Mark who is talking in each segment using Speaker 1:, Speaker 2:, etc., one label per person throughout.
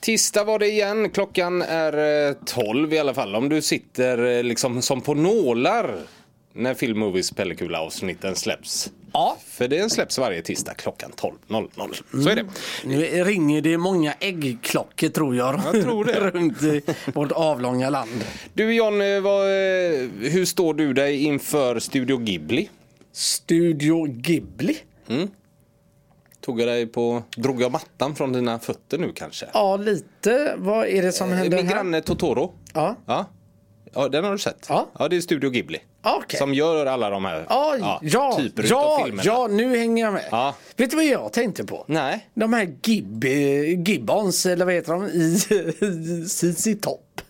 Speaker 1: Tisdag var det igen. Klockan är eh, 12 i alla fall. Om du sitter eh, liksom som på nålar när Filmmovies Pellekula-avsnitten släpps.
Speaker 2: Ja.
Speaker 1: För den släpps varje tisdag klockan 12.00. Så är det.
Speaker 2: Mm. Nu ringer det många äggklockor tror jag.
Speaker 1: Jag tror det.
Speaker 2: Runt i vårt avlånga land.
Speaker 1: Du John, eh, vad, eh, hur står du dig inför Studio Ghibli?
Speaker 2: Studio Ghibli.
Speaker 1: Tog jag dig på, drog jag mattan från dina fötter nu kanske?
Speaker 2: Ja, lite. Vad är det som händer
Speaker 1: Eh, Min
Speaker 2: här?
Speaker 1: granne Totoro.
Speaker 2: Ja.
Speaker 1: Ja. ja, den har du sett?
Speaker 2: Ja.
Speaker 1: det är Studio Ghibli.
Speaker 2: Ja, ah, okej.
Speaker 1: Som gör alla de här typ
Speaker 2: Ja, ja,
Speaker 1: typer utav
Speaker 2: ja,
Speaker 1: filmerna.
Speaker 2: ja, nu hänger jag med.
Speaker 1: Ja. Mm.
Speaker 2: Vet du vad jag tänkte på?
Speaker 1: Nej.
Speaker 2: De här gib, eh, gibbons, eller vad heter de, i ZZ Top.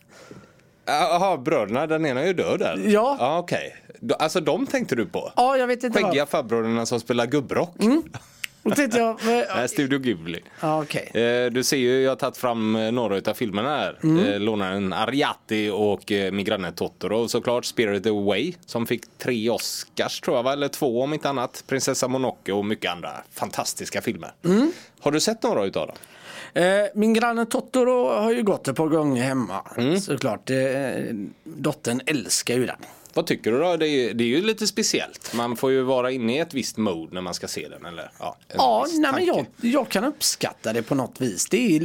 Speaker 1: Jaha, bröderna, den ena är ju död där.
Speaker 2: Ja.
Speaker 1: ja okej. Då- Alltså de tänkte du på?
Speaker 2: Ja, jag vet inte
Speaker 1: Skäggiga farbröderna som spelar gubbrock. Mm.
Speaker 2: vad. Då tänkte jag, eh,
Speaker 1: Nej, Studio Ghibli.
Speaker 2: ja, okej.
Speaker 1: Eh, Du ser ju, jag har tagit fram eh, några av filmerna här. Mm. Lånaren Ariati och eh, Min granne Totoro. Och såklart Spirit Away som fick tre Oscars tror jag, va? eller två om inte annat. Prinsessa Mononoke och mycket andra fantastiska filmer.
Speaker 2: Mm.
Speaker 1: Har du sett några utav dem?
Speaker 2: Eh, Min granne Totoro har ju gått ett par gånger hemma. Såklart. Eh, Dottern älskar ju den.
Speaker 1: Vad tycker du då? Det är, ju- det är ju lite speciellt. Man får ju vara inne i ett visst mode när man ska se den. Eller, ja, en
Speaker 2: Ja,
Speaker 1: viss
Speaker 2: nej, men jag,
Speaker 1: tanke.
Speaker 2: jag kan uppskatta det på något vis. Det är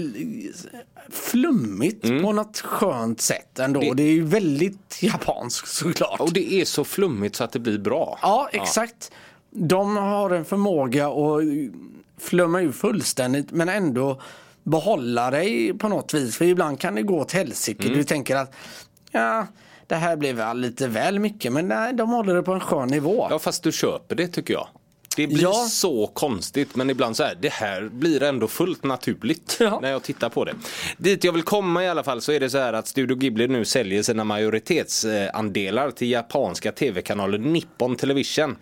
Speaker 2: flummigt på något skönt sätt ändå. Det, är ju väldigt japanskt såklart.
Speaker 1: Och det är så flummigt så att det blir bra.
Speaker 2: Ja, exakt. De har en förmåga att flumma ur fullständigt men ändå behålla dig på något vis. För ibland kan det gå åt helsike.
Speaker 1: Mm.
Speaker 2: Du tänker att ja, det här blir väl lite väl mycket men nej, de håller det på en skön nivå.
Speaker 1: Ja, fast du köper det tycker jag. Det blir
Speaker 2: Ja.
Speaker 1: så konstigt men ibland så här, det här blir ändå fullt naturligt
Speaker 2: Ja.
Speaker 1: när jag tittar på det. Dit jag vill komma i alla fall så är det så här att Studio Ghibli nu säljer sina majoritetsandelar till japanska tv-kanalen Nippon Television.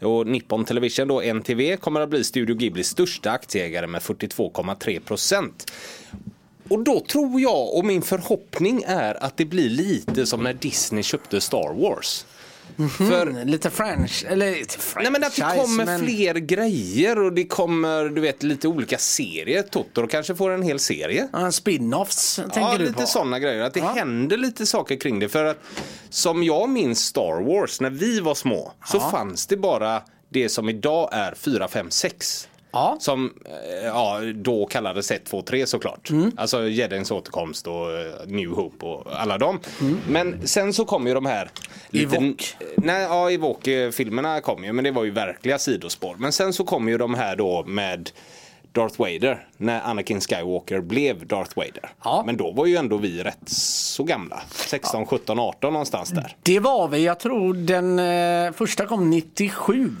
Speaker 1: Och Nippon Television då, NTV, kommer att bli Studio Ghiblis största aktieägare med 42,3 procent. Och då tror jag och min förhoppning är att det blir lite som när Disney köpte Star Wars. För
Speaker 2: Mm, lite French, eller lite
Speaker 1: Nej men att det
Speaker 2: franchise,
Speaker 1: kommer
Speaker 2: men-
Speaker 1: fler grejer och det kommer du vet lite olika serier. Totoro kanske får en hel serie.
Speaker 2: Ja, spin-offs tänker
Speaker 1: ja
Speaker 2: du på?
Speaker 1: lite sådana grejer. Att det
Speaker 2: Ja.
Speaker 1: händer lite saker kring det. För att som jag minns Star Wars när vi var små så fanns det bara det som idag är 4, 5, 6.
Speaker 2: Ja.
Speaker 1: Som eh, ja, då kallades 1, 2, 3 såklart.
Speaker 2: Mm.
Speaker 1: Alltså Jedins återkomst och eh, New Hope och alla dem. Men sen så kom ju de här...
Speaker 2: Mm. Ewok.
Speaker 1: Eh, Nej, ja, Evoke-filmerna kom ju men det var ju verkliga sidospår. Men sen så kom ju de här då med Darth Vader när Anakin Skywalker blev Darth Vader.
Speaker 2: Ja.
Speaker 1: Men då var ju ändå vi rätt så gamla. 16, 17, 18 någonstans där.
Speaker 2: Det var vi, jag tror den eh, första kom 97.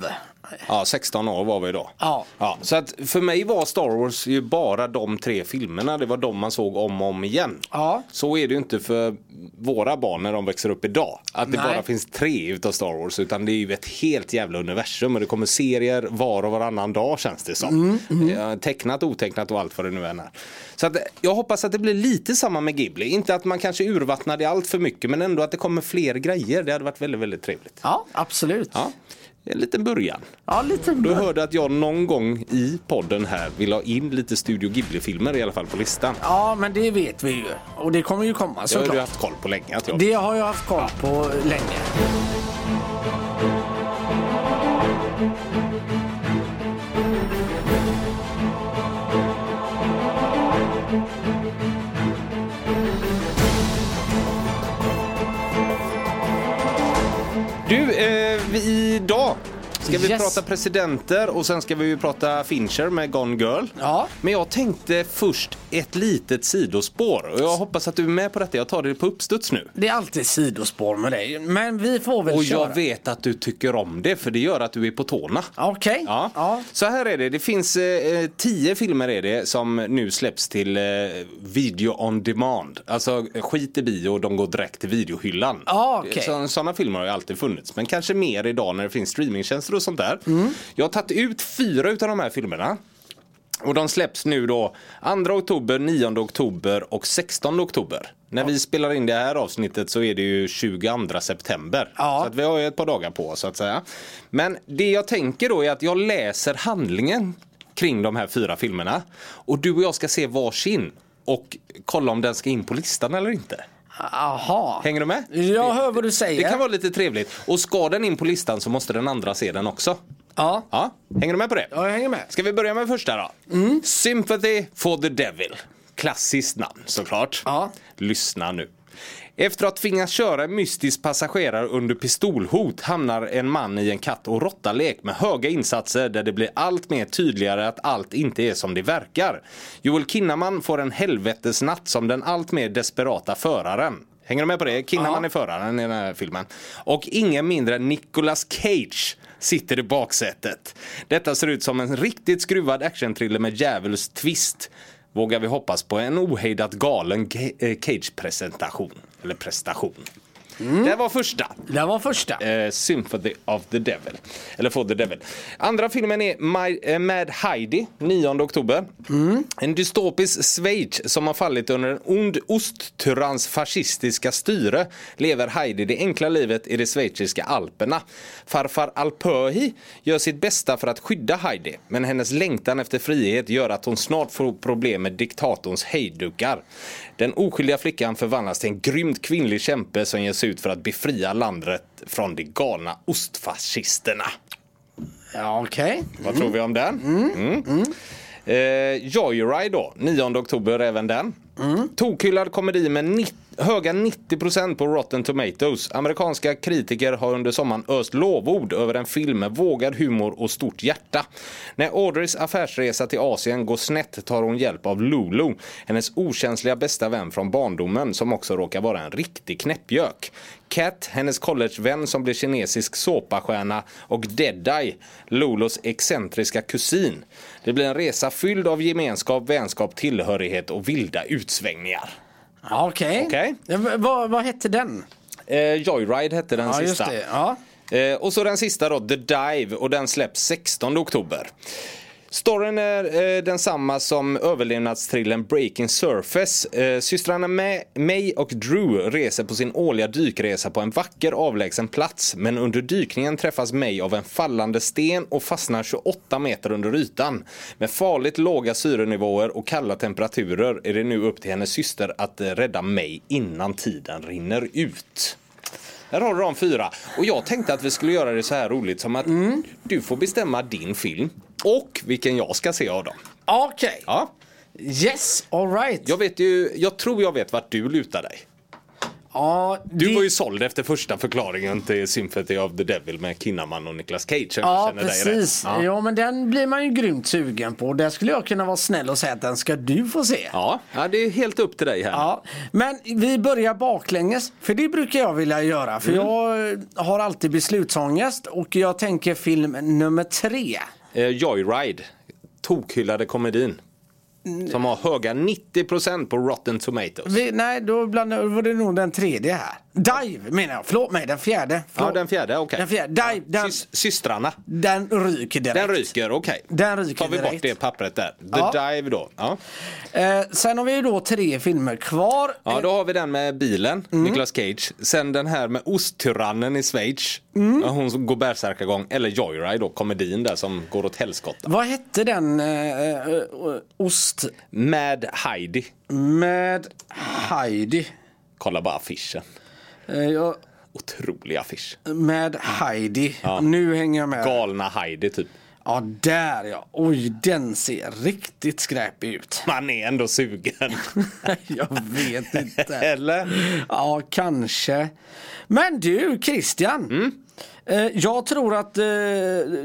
Speaker 1: Ja, 16 år var vi då.
Speaker 2: Ja.
Speaker 1: Ja, så att för mig var Star Wars ju bara de tre filmerna. Det var de man såg om och om igen.
Speaker 2: Ja.
Speaker 1: Så är det ju inte för våra barn när de växer upp idag. Att det
Speaker 2: Nej.
Speaker 1: bara finns tre utav Star Wars. Utan det är ju ett helt jävla universum. Och det kommer serier var och varannan dag känns det
Speaker 2: Mm,
Speaker 1: som. Eh, Tecknat, otecknat och allt vad det nu än är. Så att eh, jag hoppas att det blir lite samma med Ghibli. Inte att man kanske urvattnar det allt för mycket. Men ändå att det kommer fler grejer. Det hade varit väldigt, väldigt trevligt.
Speaker 2: Ja, absolut.
Speaker 1: Ja, en liten början.
Speaker 2: Ja, lite
Speaker 1: Du hörde att jag någon gång i podden här vill ha in lite Studio Ghibli-filmer i alla fall på listan.
Speaker 2: Ja, men det vet vi ju. Och det kommer ju komma
Speaker 1: Det har du
Speaker 2: såklart.
Speaker 1: haft koll på länge. Att jag...
Speaker 2: Det har jag haft koll på länge.
Speaker 1: Du, eh, vi, idag ska vi
Speaker 2: Yes.
Speaker 1: prata presidenter och sen ska vi ju prata Fincher med Gone Girl.
Speaker 2: Ja.
Speaker 1: Men jag tänkte först ett litet sidospår och jag hoppas att du är med på detta. Jag tar det på uppstuds nu.
Speaker 2: Det är alltid sidospår med dig. Men vi får väl
Speaker 1: Och
Speaker 2: köra.
Speaker 1: jag vet att du tycker om det för det gör att du är på tårna.
Speaker 2: Okej.
Speaker 1: Ja.
Speaker 2: Ja.
Speaker 1: Så här är det, det finns eh, eh, tio filmer är det som nu släpps till eh, video on demand. Alltså eh, skit i bio, de går direkt till videohyllan.
Speaker 2: Ja, Ah, okej.
Speaker 1: så, sådana filmer har ju alltid funnits, men kanske mer idag när det finns streamingtjänster och sånt där.
Speaker 2: Mm.
Speaker 1: Jag har tagit ut fyra utav de här filmerna. Och de släpps nu då 2 oktober, 9 oktober och 16 oktober. När vi spelar in det här avsnittet så är det ju 22 september.
Speaker 2: Ja.
Speaker 1: Så att vi har ju ett par dagar på oss så att säga. Men det jag tänker då är att jag läser handlingen kring de här fyra filmerna. Och du och jag ska se varsin. och kolla om den ska in på listan eller inte.
Speaker 2: Aha.
Speaker 1: Hänger du med?
Speaker 2: Jag hör vad du
Speaker 1: Det
Speaker 2: säger.
Speaker 1: kan vara lite trevligt. Och ska den in på listan så måste den andra se den också.
Speaker 2: ja.
Speaker 1: Ja, hänger du med på det?
Speaker 2: ja, jag hänger med.
Speaker 1: Ska vi börja med första då? Sympathy for the Devil. Klassiskt namn såklart.
Speaker 2: Ja.
Speaker 1: Lyssna nu. Efter att tvingas köra en mystisk passagerare under pistolhot hamnar en man i en katt och råttalek med höga insatser där det blir allt mer tydligare att allt inte är som det verkar. Joel Kinnaman får en helvetesnatt som den allt mer desperata föraren. Hänger du med på det? Kinnaman är föraren i den här filmen. Och ingen mindre än Nicolas Cage sitter i baksätet. Detta ser ut som en riktigt skruvad actionthriller med djävulskt twist. Vågar vi hoppas på en ohejdat galen Ca- eh, Cage-presentation. Eller prestation. Det var första.
Speaker 2: Det var första.
Speaker 1: Eh, Symphony of the Devil. Eller For the Devil. Andra filmen är My, eh, Mad Heidi, 9 oktober. En dystopisk Schweiz som har fallit under en ond osttyranns fascistiska styre lever Heidi det enkla livet i de schweiziska alperna. Farfar Alpöhi gör sitt bästa för att skydda Heidi men hennes längtan efter frihet gör att hon snart får problem med diktatorns hejdukar. Den oskyldiga flickan förvandlas till en grymt kvinnlig kämpe som ger sig ut för att befria landet från de galna ostfascisterna.
Speaker 2: Ja, okej.
Speaker 1: Vad tror vi om den? Mm. Eh, Joyride då, 9 oktober även den. Tokhyllad komedi med ni- höga 90% på Rotten Tomatoes. Amerikanska kritiker har under sommaren öst lovord över en film med vågad humor och stort hjärta. När Audreys affärsresa till Asien går snett tar hon hjälp av Lulu, hennes okänsliga bästa vän från barndomen som också råkar vara en riktig knäppjök. Kat, hennes collegevän som blir kinesisk såpastjärna och Deadeye, Lulos excentriska kusin. Det blir en resa fylld av gemenskap, vänskap, tillhörighet och vilda utsvängningar.
Speaker 2: Ja, okej.
Speaker 1: Okej.
Speaker 2: Ja, v- Vad, vad hette den?
Speaker 1: Eh, Joyride hette den
Speaker 2: Ja, just
Speaker 1: sista.
Speaker 2: det. Ja.
Speaker 1: Eh, och så den sista då, The Dive, och den släpps 16 oktober. Storyn är eh, densamma som överlevnadstrillen Breaking Surface. Eh, systrarna Ma- May och Drew reser på sin årliga dykresa på en vacker avlägsen plats men under dykningen träffas May av en fallande sten och fastnar 28 meter under ytan. Med farligt låga syrenivåer och kalla temperaturer är det nu upp till hennes syster att eh, rädda May innan tiden rinner ut. Här har du de fyra. Och jag tänkte att vi skulle göra det så här roligt som att
Speaker 2: Mm.
Speaker 1: du får bestämma din film och vilken jag ska se av dem.
Speaker 2: Okej.
Speaker 1: Ja.
Speaker 2: Yes, alright.
Speaker 1: Jag, vet ju, jag tror jag vet vart du lutar dig.
Speaker 2: Ja,
Speaker 1: Du
Speaker 2: det-
Speaker 1: var ju såld efter första förklaringen till Sympathy of the Devil med Kinnaman och Niklas Cage. om jag
Speaker 2: Ja,
Speaker 1: känner dig
Speaker 2: precis.
Speaker 1: rätt. Ja.
Speaker 2: Ja, men den blir man ju grymt sugen på. Där skulle jag kunna vara snäll och säga att den ska du få se.
Speaker 1: Ja. ja, det är helt upp till dig här.
Speaker 2: Ja, men vi börjar baklänges, för det brukar jag vilja göra. För
Speaker 1: Mm.
Speaker 2: jag eh, har alltid beslutsångest och jag tänker film nummer tre.
Speaker 1: Eh, Joyride, tokhyllade komedin. Som har höga 90% på Rotten Tomatoes.
Speaker 2: Mm. Vi, nej, då blandade, var det nog den tredje här. Dive menar jag, förlåt mig, den fjärde.
Speaker 1: Ja,
Speaker 2: Förlåt.
Speaker 1: den fjärde, okej.
Speaker 2: Den fjärde, dive, den,
Speaker 1: Sys- systrarna.
Speaker 2: den ryker direkt.
Speaker 1: Den ryker, okej.
Speaker 2: Den ryker
Speaker 1: Tar vi bort
Speaker 2: direkt.
Speaker 1: det pappret där. The
Speaker 2: Ja.
Speaker 1: Dive då. Ja.
Speaker 2: Eh, sen har vi ju då tre filmer kvar.
Speaker 1: ja, då har vi den med bilen,
Speaker 2: Mm.
Speaker 1: Nicolas Cage. Sen den här med osttyrannen i Schweiz.
Speaker 2: Mm.
Speaker 1: Ja, Hon som går bärsärkagång. Eller Joyride då, komedin där som går åt helskotta.
Speaker 2: Vad hette den eh, eh, ost
Speaker 1: Mad Heidi.
Speaker 2: med Heidi?
Speaker 1: Kolla bara affischen.
Speaker 2: Eh, jag-
Speaker 1: Otrolig affisch.
Speaker 2: med Heidi.
Speaker 1: Ja.
Speaker 2: Nu hänger jag med.
Speaker 1: Galna Heidi typ.
Speaker 2: Ja, där ja. Oj, den ser riktigt skräpig ut.
Speaker 1: Man är ändå sugen.
Speaker 2: jag vet inte.
Speaker 1: Eller?
Speaker 2: Ja, kanske. Men du, Christian.
Speaker 1: Mm.
Speaker 2: Eh, jag tror att eh,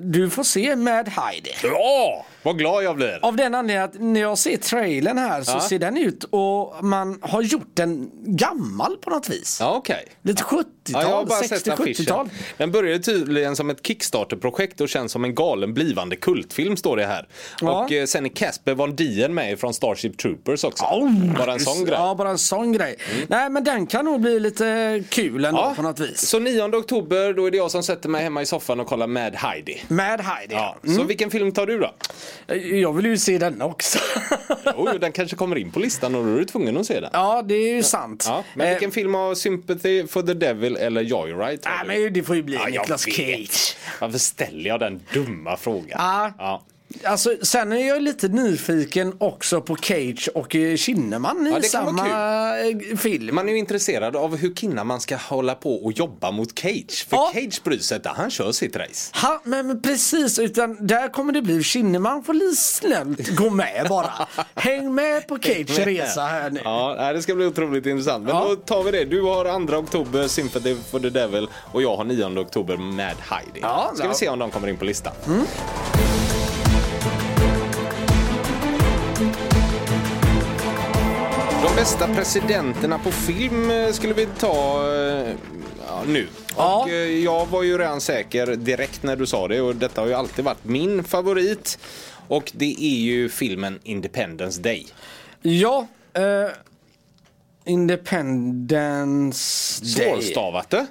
Speaker 2: du får se med Heidi.
Speaker 1: Ja! Vad glad jag blir.
Speaker 2: Av den anledningen att när jag ser trailern här så
Speaker 1: Ja.
Speaker 2: ser den ut och man har gjort den gammal på något vis.
Speaker 1: Ja, okej.
Speaker 2: Lite 70-tal,
Speaker 1: Ja, jag har bara sett
Speaker 2: 60-70-tal.
Speaker 1: affischen. Den började tydligen som ett Kickstarter-projekt och känns som en galen blivande kultfilm står det här.
Speaker 2: Ja.
Speaker 1: Och eh, sen är Casper Von Dien med från Starship Troopers också. bara en sån grej. Mm.
Speaker 2: Ja, bara en sån grej. Nej, men den kan nog bli lite kul ändå
Speaker 1: Ja.
Speaker 2: på något vis.
Speaker 1: Så 9 oktober då är det jag som sätter mig hemma i soffan och kollar med Heidi.
Speaker 2: Med Heidi.
Speaker 1: Ja. Så vilken film tar du då?
Speaker 2: Eh, Jag vill ju se den också.
Speaker 1: Oh, den kanske kommer in på listan och då är du tvungen att se den.
Speaker 2: ja, det är ju sant.
Speaker 1: Ja. Men vilken
Speaker 2: eh,
Speaker 1: film har Sympathy for the Devil eller Joyride? tar
Speaker 2: nej,
Speaker 1: du?
Speaker 2: men det får ju bli
Speaker 1: Ja, jag
Speaker 2: Nicolas
Speaker 1: vet.
Speaker 2: Cage.
Speaker 1: Varför ställer jag den dumma frågan?
Speaker 2: Ja.
Speaker 1: Ja.
Speaker 2: Alltså, sen är jag lite nyfiken också på Cage och eh, Kinnaman i
Speaker 1: Ja, det kan vara
Speaker 2: samma eh, film.
Speaker 1: Man är ju intresserad av hur Kinnaman ska hålla på och jobba mot Cage. För
Speaker 2: Ja.
Speaker 1: Cage bryr sig inte, han kör sitt race.
Speaker 2: Ha, men, men precis, utan där kommer det bli Kinnaman får li- snällt gå med bara. Häng med på Cage resa här nu.
Speaker 1: Ja, nej, det ska bli otroligt intressant. Men
Speaker 2: Ja.
Speaker 1: då tar vi det. Du har 2 oktober Sympathy for the Devil och jag har 9 oktober Mad Heidi.
Speaker 2: Ja,
Speaker 1: ska
Speaker 2: ja. Mm.
Speaker 1: vi se om de kommer in på listan. De bästa presidenterna på film eh, skulle vi ta eh, ja, nu.
Speaker 2: Ja.
Speaker 1: Och, eh, jag var ju redan säker direkt när du sa det och detta har ju alltid varit min favorit. Och det är ju filmen Independence Day.
Speaker 2: Ja, eh, Independence Day.
Speaker 1: Svårstavat det.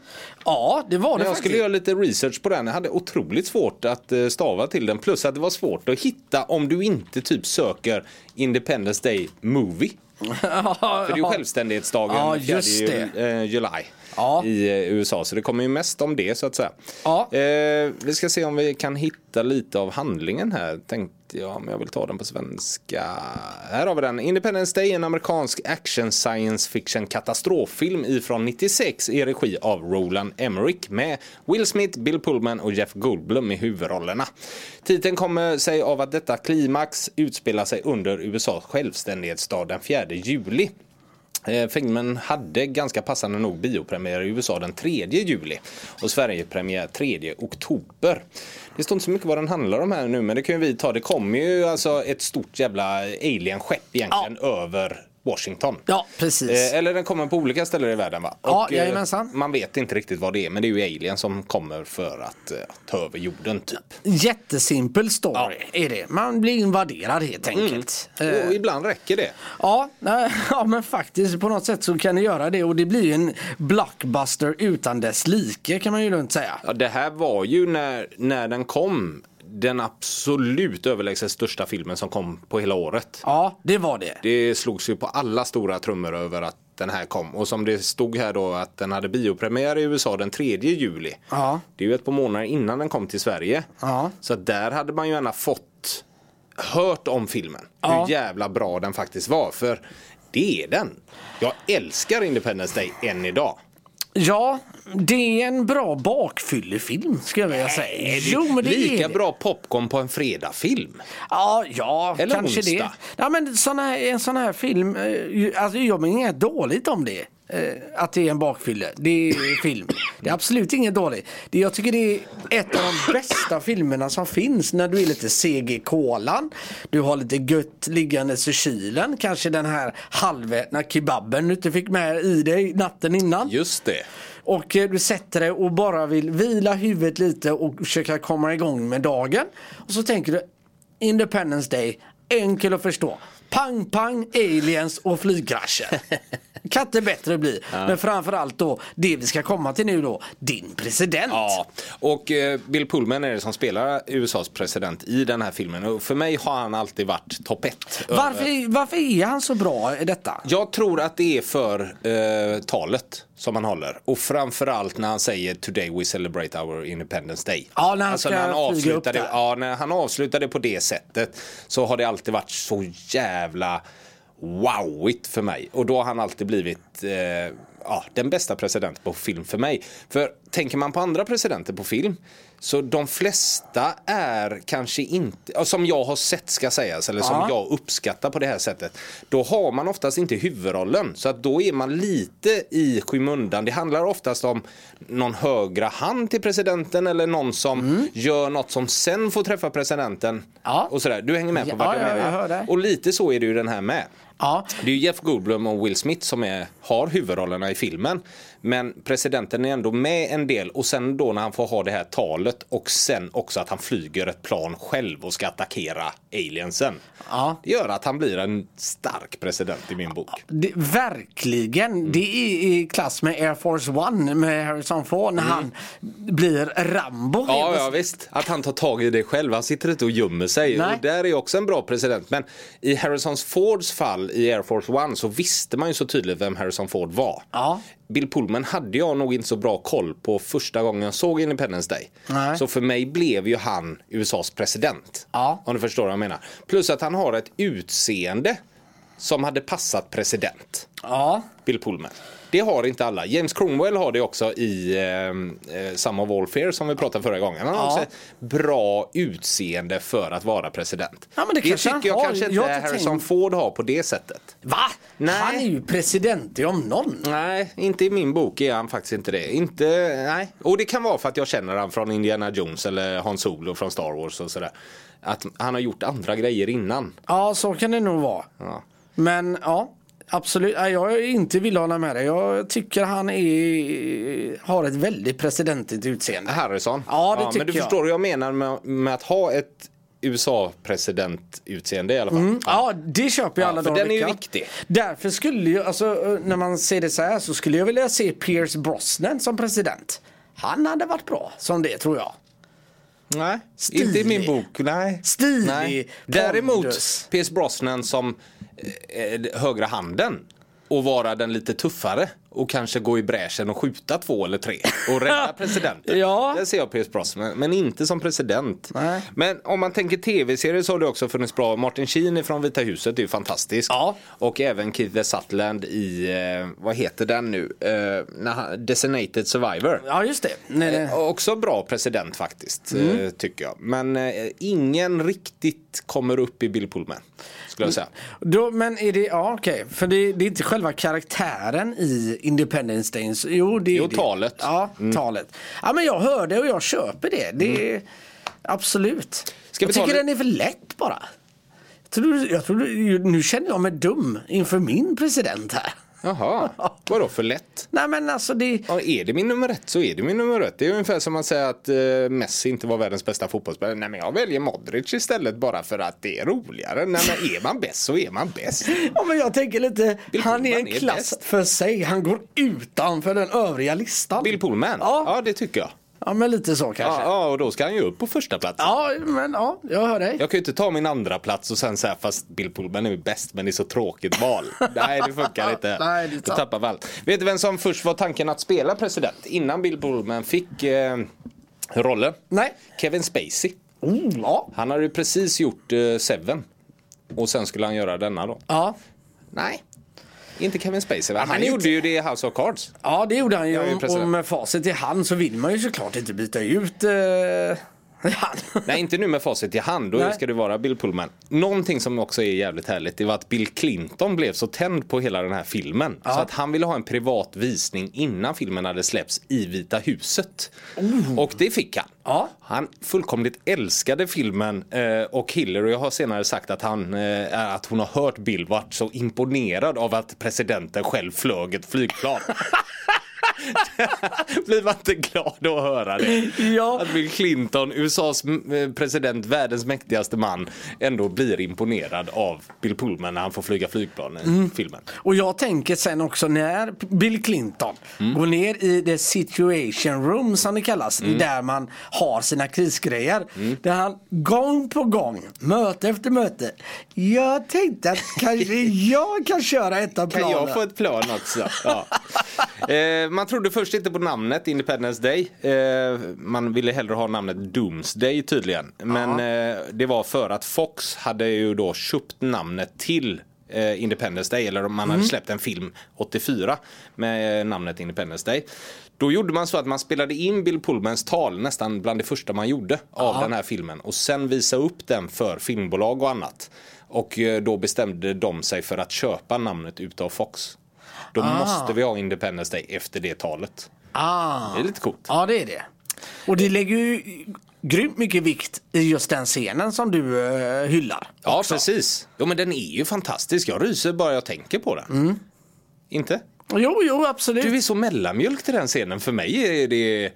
Speaker 2: Ja, det
Speaker 1: Men
Speaker 2: var det
Speaker 1: jag
Speaker 2: faktiskt.
Speaker 1: skulle göra lite research på den. Jag hade otroligt svårt att eh, stava till den. Plus att det var svårt att hitta om du inte typ söker Independence Day Movie.
Speaker 2: ja,
Speaker 1: För det är ju självständighetsdagen
Speaker 2: Ja,
Speaker 1: den fjärde
Speaker 2: just
Speaker 1: ju- eh, juli
Speaker 2: Ja.
Speaker 1: i eh, USA. Så det kommer ju mest om det så att säga.
Speaker 2: Ja.
Speaker 1: Eh, vi ska se om vi kan hitta lite av handlingen här. Tänkte jag, men jag vill ta den på svenska. Här har vi den. Independence Day, en amerikansk action science fiction katastroffilm ifrån 96 i regi av Roland Emmerich med Will Smith, Bill Pullman och Jeff Goldblum i huvudrollerna. Titeln kommer sig av att detta klimax utspelar sig under USAs självständighetsdag den 4 juli. Eh, Filmen hade ganska passande nog biopremiär i USA den 3 juli och Sverigepremiär 3 oktober. Det står inte så mycket vad den handlar om här nu men det kan ju vi ta. Det kommer ju alltså ett stort jävla alien-skepp egentligen över Washington.
Speaker 2: ja, precis.
Speaker 1: Eh, Eller den kommer på olika ställen i världen va?
Speaker 2: Ja,
Speaker 1: eh,
Speaker 2: jajamensan.
Speaker 1: man vet inte riktigt vad det är men det är ju alien som kommer för att eh, ta över jorden typ.
Speaker 2: Jättesimpel story är det. Man blir invaderad helt enkelt. Eh,
Speaker 1: Mm. Och ibland räcker det.
Speaker 2: Ja, nej, ja, men faktiskt på något sätt så kan det göra det och det blir ju en blockbuster utan dess like kan man ju lugnt säga.
Speaker 1: Ja, det här var ju när, när den kom den absolut överlägset största filmen som kom på hela året.
Speaker 2: Ja, det var det.
Speaker 1: Det slogs ju på alla stora trummor över att den här kom. Och som det stod här då att den hade biopremiär i USA den 3 juli.
Speaker 2: Ja.
Speaker 1: Det är ju ett par månader innan den kom till Sverige.
Speaker 2: Ja.
Speaker 1: Så att där hade man ju gärna fått hört om filmen.
Speaker 2: Ja.
Speaker 1: Hur jävla bra den faktiskt var. För det är den. Jag älskar Independence Day än idag.
Speaker 2: Ja, det är en bra bakfyllefilm skulle jag vilja säga. Jo, men det
Speaker 1: Lika
Speaker 2: är det.
Speaker 1: bra popcorn på en fredagfilm.
Speaker 2: Ja, ja
Speaker 1: Eller
Speaker 2: kanske
Speaker 1: onsdag.
Speaker 2: det. Ja, men sån här, en sån här film, eh, ju- alltså, jag menar inget dåligt om det. eh, Att det är en bakfylle. Det är film. Det är absolut inget dåligt. Det, jag tycker det är ett av de bästa filmerna som finns. När du är lite seg i kolan. Du har lite gött liggandes i kylen. Kanske den här halvätna kebaben du inte fick med i dig natten innan.
Speaker 1: Just det.
Speaker 2: Och eh, du sätter dig och bara vill vila huvudet lite och försöka komma igång med dagen. Och så tänker du Independence Day, enkel att förstå. Pang, pang, aliens och flygkrascher. kan inte bättre bli. Men framförallt då, det vi ska komma till nu då, din president.
Speaker 1: Ja, och eh, Bill Pullman är det som spelar USAs president i den här filmen. Och för mig har han alltid varit topp ett.
Speaker 2: Varför, varför är han så bra i detta?
Speaker 1: Jag tror att det är för eh, talet som han håller. Och framförallt när han säger Today we celebrate our independence day. Alltså
Speaker 2: Ja, när han ska flyga upp
Speaker 1: avslutar det,
Speaker 2: där.
Speaker 1: ja, när han avslutar det på det sättet så har det alltid varit så jävla wowigt för mig. Och då har han alltid blivit eh, ja, den bästa presidenten på film för mig. För tänker man på andra presidenter på film så de flesta är kanske inte, ja, som jag har sett ska sägas, eller som
Speaker 2: Ja.
Speaker 1: jag uppskattar på det här sättet. Då har man oftast inte huvudrollen så att då är man lite i skymundan. Det handlar oftast om någon högra hand till presidenten eller någon som gör något som sen får träffa presidenten.
Speaker 2: Mm. Ja.
Speaker 1: Och sådär. Du hänger med på
Speaker 2: Ja,
Speaker 1: vad jag
Speaker 2: ja,
Speaker 1: menar.
Speaker 2: jag hör det.
Speaker 1: Och lite så är det ju den här med.
Speaker 2: Ja,
Speaker 1: Det är ju Jeff Goldblum och Will Smith som är, har huvudrollerna i filmen. Men presidenten är ändå med en del och sen då när han får ha det här talet och sen också att han flyger ett plan själv och ska attackera aliensen.
Speaker 2: Ja.
Speaker 1: Det gör att han blir en stark president i min bok.
Speaker 2: Det, verkligen.
Speaker 1: Mm.
Speaker 2: Det är i klass med Air Force One med Harrison Ford när han blir Rambo.
Speaker 1: Mm. Ja, ja visst. Att han tar tag i det själv. Han sitter inte och gömmer sig.
Speaker 2: Nej.
Speaker 1: Och där är också en bra president. Men i Harrisons Fords fall väl i Air Force One så visste man ju så tydligt vem Harrison Ford var.
Speaker 2: Ja.
Speaker 1: Bill Pullman hade jag nog inte så bra koll på första gången jag såg Independence Day.
Speaker 2: Nej.
Speaker 1: Så för mig blev ju han USAs president.
Speaker 2: Ja.
Speaker 1: Om du förstår vad jag menar. Plus att han har ett utseende som hade passat president.
Speaker 2: Ja.
Speaker 1: Bill Pullman. Det har inte alla. James Cromwell har det också i eh, eh, Some of All Fear som vi pratade förra gången. Han har
Speaker 2: Ja.
Speaker 1: också ett bra utseende för att vara president.
Speaker 2: Ja, men det kanske
Speaker 1: tycker
Speaker 2: han
Speaker 1: jag
Speaker 2: har.
Speaker 1: kanske inte
Speaker 2: Jag har inte
Speaker 1: Harrison
Speaker 2: tänkt-
Speaker 1: Ford har på det sättet.
Speaker 2: Va?
Speaker 1: Nej.
Speaker 2: Han är ju president i om någon.
Speaker 1: Nej, inte i min bok är han faktiskt inte det. Inte, nej. Och det kan vara för att jag känner han från Indiana Jones eller Han Solo från Star Wars och sådär. Att han har gjort andra grejer innan.
Speaker 2: Ja, så kan det nog vara.
Speaker 1: Ja.
Speaker 2: Men ja, absolut. Nej, Jag är inte vill hålla med dig. Jag tycker han är, har ett väldigt presidentigt utseende.
Speaker 1: Harrison.
Speaker 2: Ja, det tycker
Speaker 1: Men du
Speaker 2: jag.
Speaker 1: förstår vad jag menar med, med att ha ett USA-presidentutseende i alla fall.
Speaker 2: Ja, det köper jag
Speaker 1: Ja,
Speaker 2: alla
Speaker 1: för
Speaker 2: dagar i
Speaker 1: den är ju
Speaker 2: veckan.
Speaker 1: viktig.
Speaker 2: Därför skulle ju, alltså eh, när man ser det så här så skulle jag vilja se Pierce Brosnan som president. Han hade varit bra som det tror jag.
Speaker 1: Nej,
Speaker 2: Stilig.
Speaker 1: inte i min bok. Nej.
Speaker 2: Stilig,
Speaker 1: Nej.
Speaker 2: pondus.
Speaker 1: Däremot Pierce Brosnan som eh, eh, högra handen och vara den lite tuffare och kanske gå i bräschen och skjuta två eller tre och rädda presidenten.
Speaker 2: Ja.
Speaker 1: Där ser jag Pierce Brosnan, men inte som president.
Speaker 2: Nej.
Speaker 1: Men om man tänker tv-serier så har det också funnits bra. Martin Sheen från Vita huset är ju fantastisk.
Speaker 2: Ja.
Speaker 1: Och även Keith the Sutherland i, eh, vad heter den nu, eh, när han- Designated Survivor.
Speaker 2: Ja, just det. Nej, nej.
Speaker 1: Eh, Också bra president faktiskt,
Speaker 2: Mm.
Speaker 1: eh, tycker jag. Men eh, ingen riktigt kommer upp i Bill Pullman, skulle jag säga.
Speaker 2: Då, men är det, ja okej, för det, det är inte själva karaktären i Independence Day. Jo, det är
Speaker 1: Jo,
Speaker 2: det.
Speaker 1: talet. Mm.
Speaker 2: Ja, talet. Ja, men jag hör det och jag köper det. Det är absolut.
Speaker 1: Ska vi
Speaker 2: jag
Speaker 1: ta
Speaker 2: tycker
Speaker 1: li-
Speaker 2: den är för lätt bara. Jag tror, du- jag tror, du- nu känner jag mig dum inför min president här.
Speaker 1: Jaha, vadå för lätt?
Speaker 2: Nej men alltså det,
Speaker 1: Ja, är det min nummer ett så är det min nummer ett. Det är ungefär som att säga att eh, Messi inte var världens bästa fotbollsspelare. Nej, men jag väljer Modric istället bara för att det är roligare. Nej, men är man bäst så är man bäst.
Speaker 2: ja, men jag tänker lite,
Speaker 1: Bill
Speaker 2: han är en
Speaker 1: Pullman är
Speaker 2: klass
Speaker 1: bäst.
Speaker 2: för sig. Han går utanför den övriga listan.
Speaker 1: Bill Pullman?
Speaker 2: Ja.
Speaker 1: ja det tycker jag.
Speaker 2: Ja men lite så kanske.
Speaker 1: Ja,
Speaker 2: Ja,
Speaker 1: ja, och då ska han ju upp på första plats.
Speaker 2: men ja, jag hör dig.
Speaker 1: Jag kan ju inte ta min andra plats och sen säga fast Bill Pullman är bäst men det är så tråkigt val. Nej det funkar inte.
Speaker 2: Nej, det är
Speaker 1: Då
Speaker 2: sant.
Speaker 1: tappar vi allt. Vet du vem som först var tanken att spela president innan Bill Pullman fick eh, rollen?
Speaker 2: Nej.
Speaker 1: Kevin Spacey.
Speaker 2: Oh, ja.
Speaker 1: Han hade ju precis gjort eh, Seven. Och sen skulle han göra denna då.
Speaker 2: Ja.
Speaker 1: Nej. Inte Kevin Spacey va?
Speaker 2: men
Speaker 1: Han
Speaker 2: inte-
Speaker 1: gjorde ju det i House of Cards.
Speaker 2: Ja, det gjorde han ju.
Speaker 1: Jag är ju
Speaker 2: Och-
Speaker 1: president.
Speaker 2: och med facit i hand så vill man ju såklart inte byta ut eh, han.
Speaker 1: Nej inte nu med facit i hand, då
Speaker 2: Nej.
Speaker 1: ska det vara Bill Pullman. Någonting som också är jävligt härligt det var att Bill Clinton blev så tänd på hela den här filmen. Så att han ville ha en privat visning innan filmen hade släppts i Vita huset. Och det fick han.
Speaker 2: Oh. Ja.
Speaker 1: Han fullkomligt älskade filmen eh, och Hillary har senare sagt att, han, eh, att hon har hört Bill varit så imponerad av att presidenten själv flög ett flygplan. Blir man inte glad att höra det?
Speaker 2: Ja.
Speaker 1: Att Bill Clinton, USAs eh, president, världens mäktigaste man, ändå blir imponerad av Bill Pullman när han får flyga flygplan i filmen.
Speaker 2: Och jag tänker sen också när Bill Clinton
Speaker 1: Mm.
Speaker 2: går ner i the situation room som det kallas.
Speaker 1: Mm.
Speaker 2: Där man har sina krisgrejer. Där han gång på gång, möte efter möte. Jag tänkte att kanske jag kan köra ett av
Speaker 1: Kan
Speaker 2: planen.
Speaker 1: jag få ett plan också? Ja. Eh, man trodde först inte på namnet Independence Day. Eh, man ville hellre ha namnet Doomsday tydligen. Men eh, det var för att Fox hade ju då köpt namnet till eh, Independence Day. Eller om man hade släppt en film 84 med eh, namnet Independence Day. Då gjorde man så att man spelade in Bill Pullmans tal nästan bland det första man gjorde av den här filmen. Och sen visa upp den för filmbolag och annat. Och eh, då bestämde de sig för att köpa namnet utav Fox. Då måste vi ha Independence Day efter det talet.
Speaker 2: Ah.
Speaker 1: Det är lite coolt.
Speaker 2: Ja, det är det. Och det lägger ju grymt mycket vikt i just den scenen som du eh, hyllar.
Speaker 1: Ja, precis. Jo, men den är ju fantastisk. Jag ryser bara jag tänker på den. Inte?
Speaker 2: Jo, jo, absolut.
Speaker 1: Du är så mellanmjölk till den scenen. För mig är det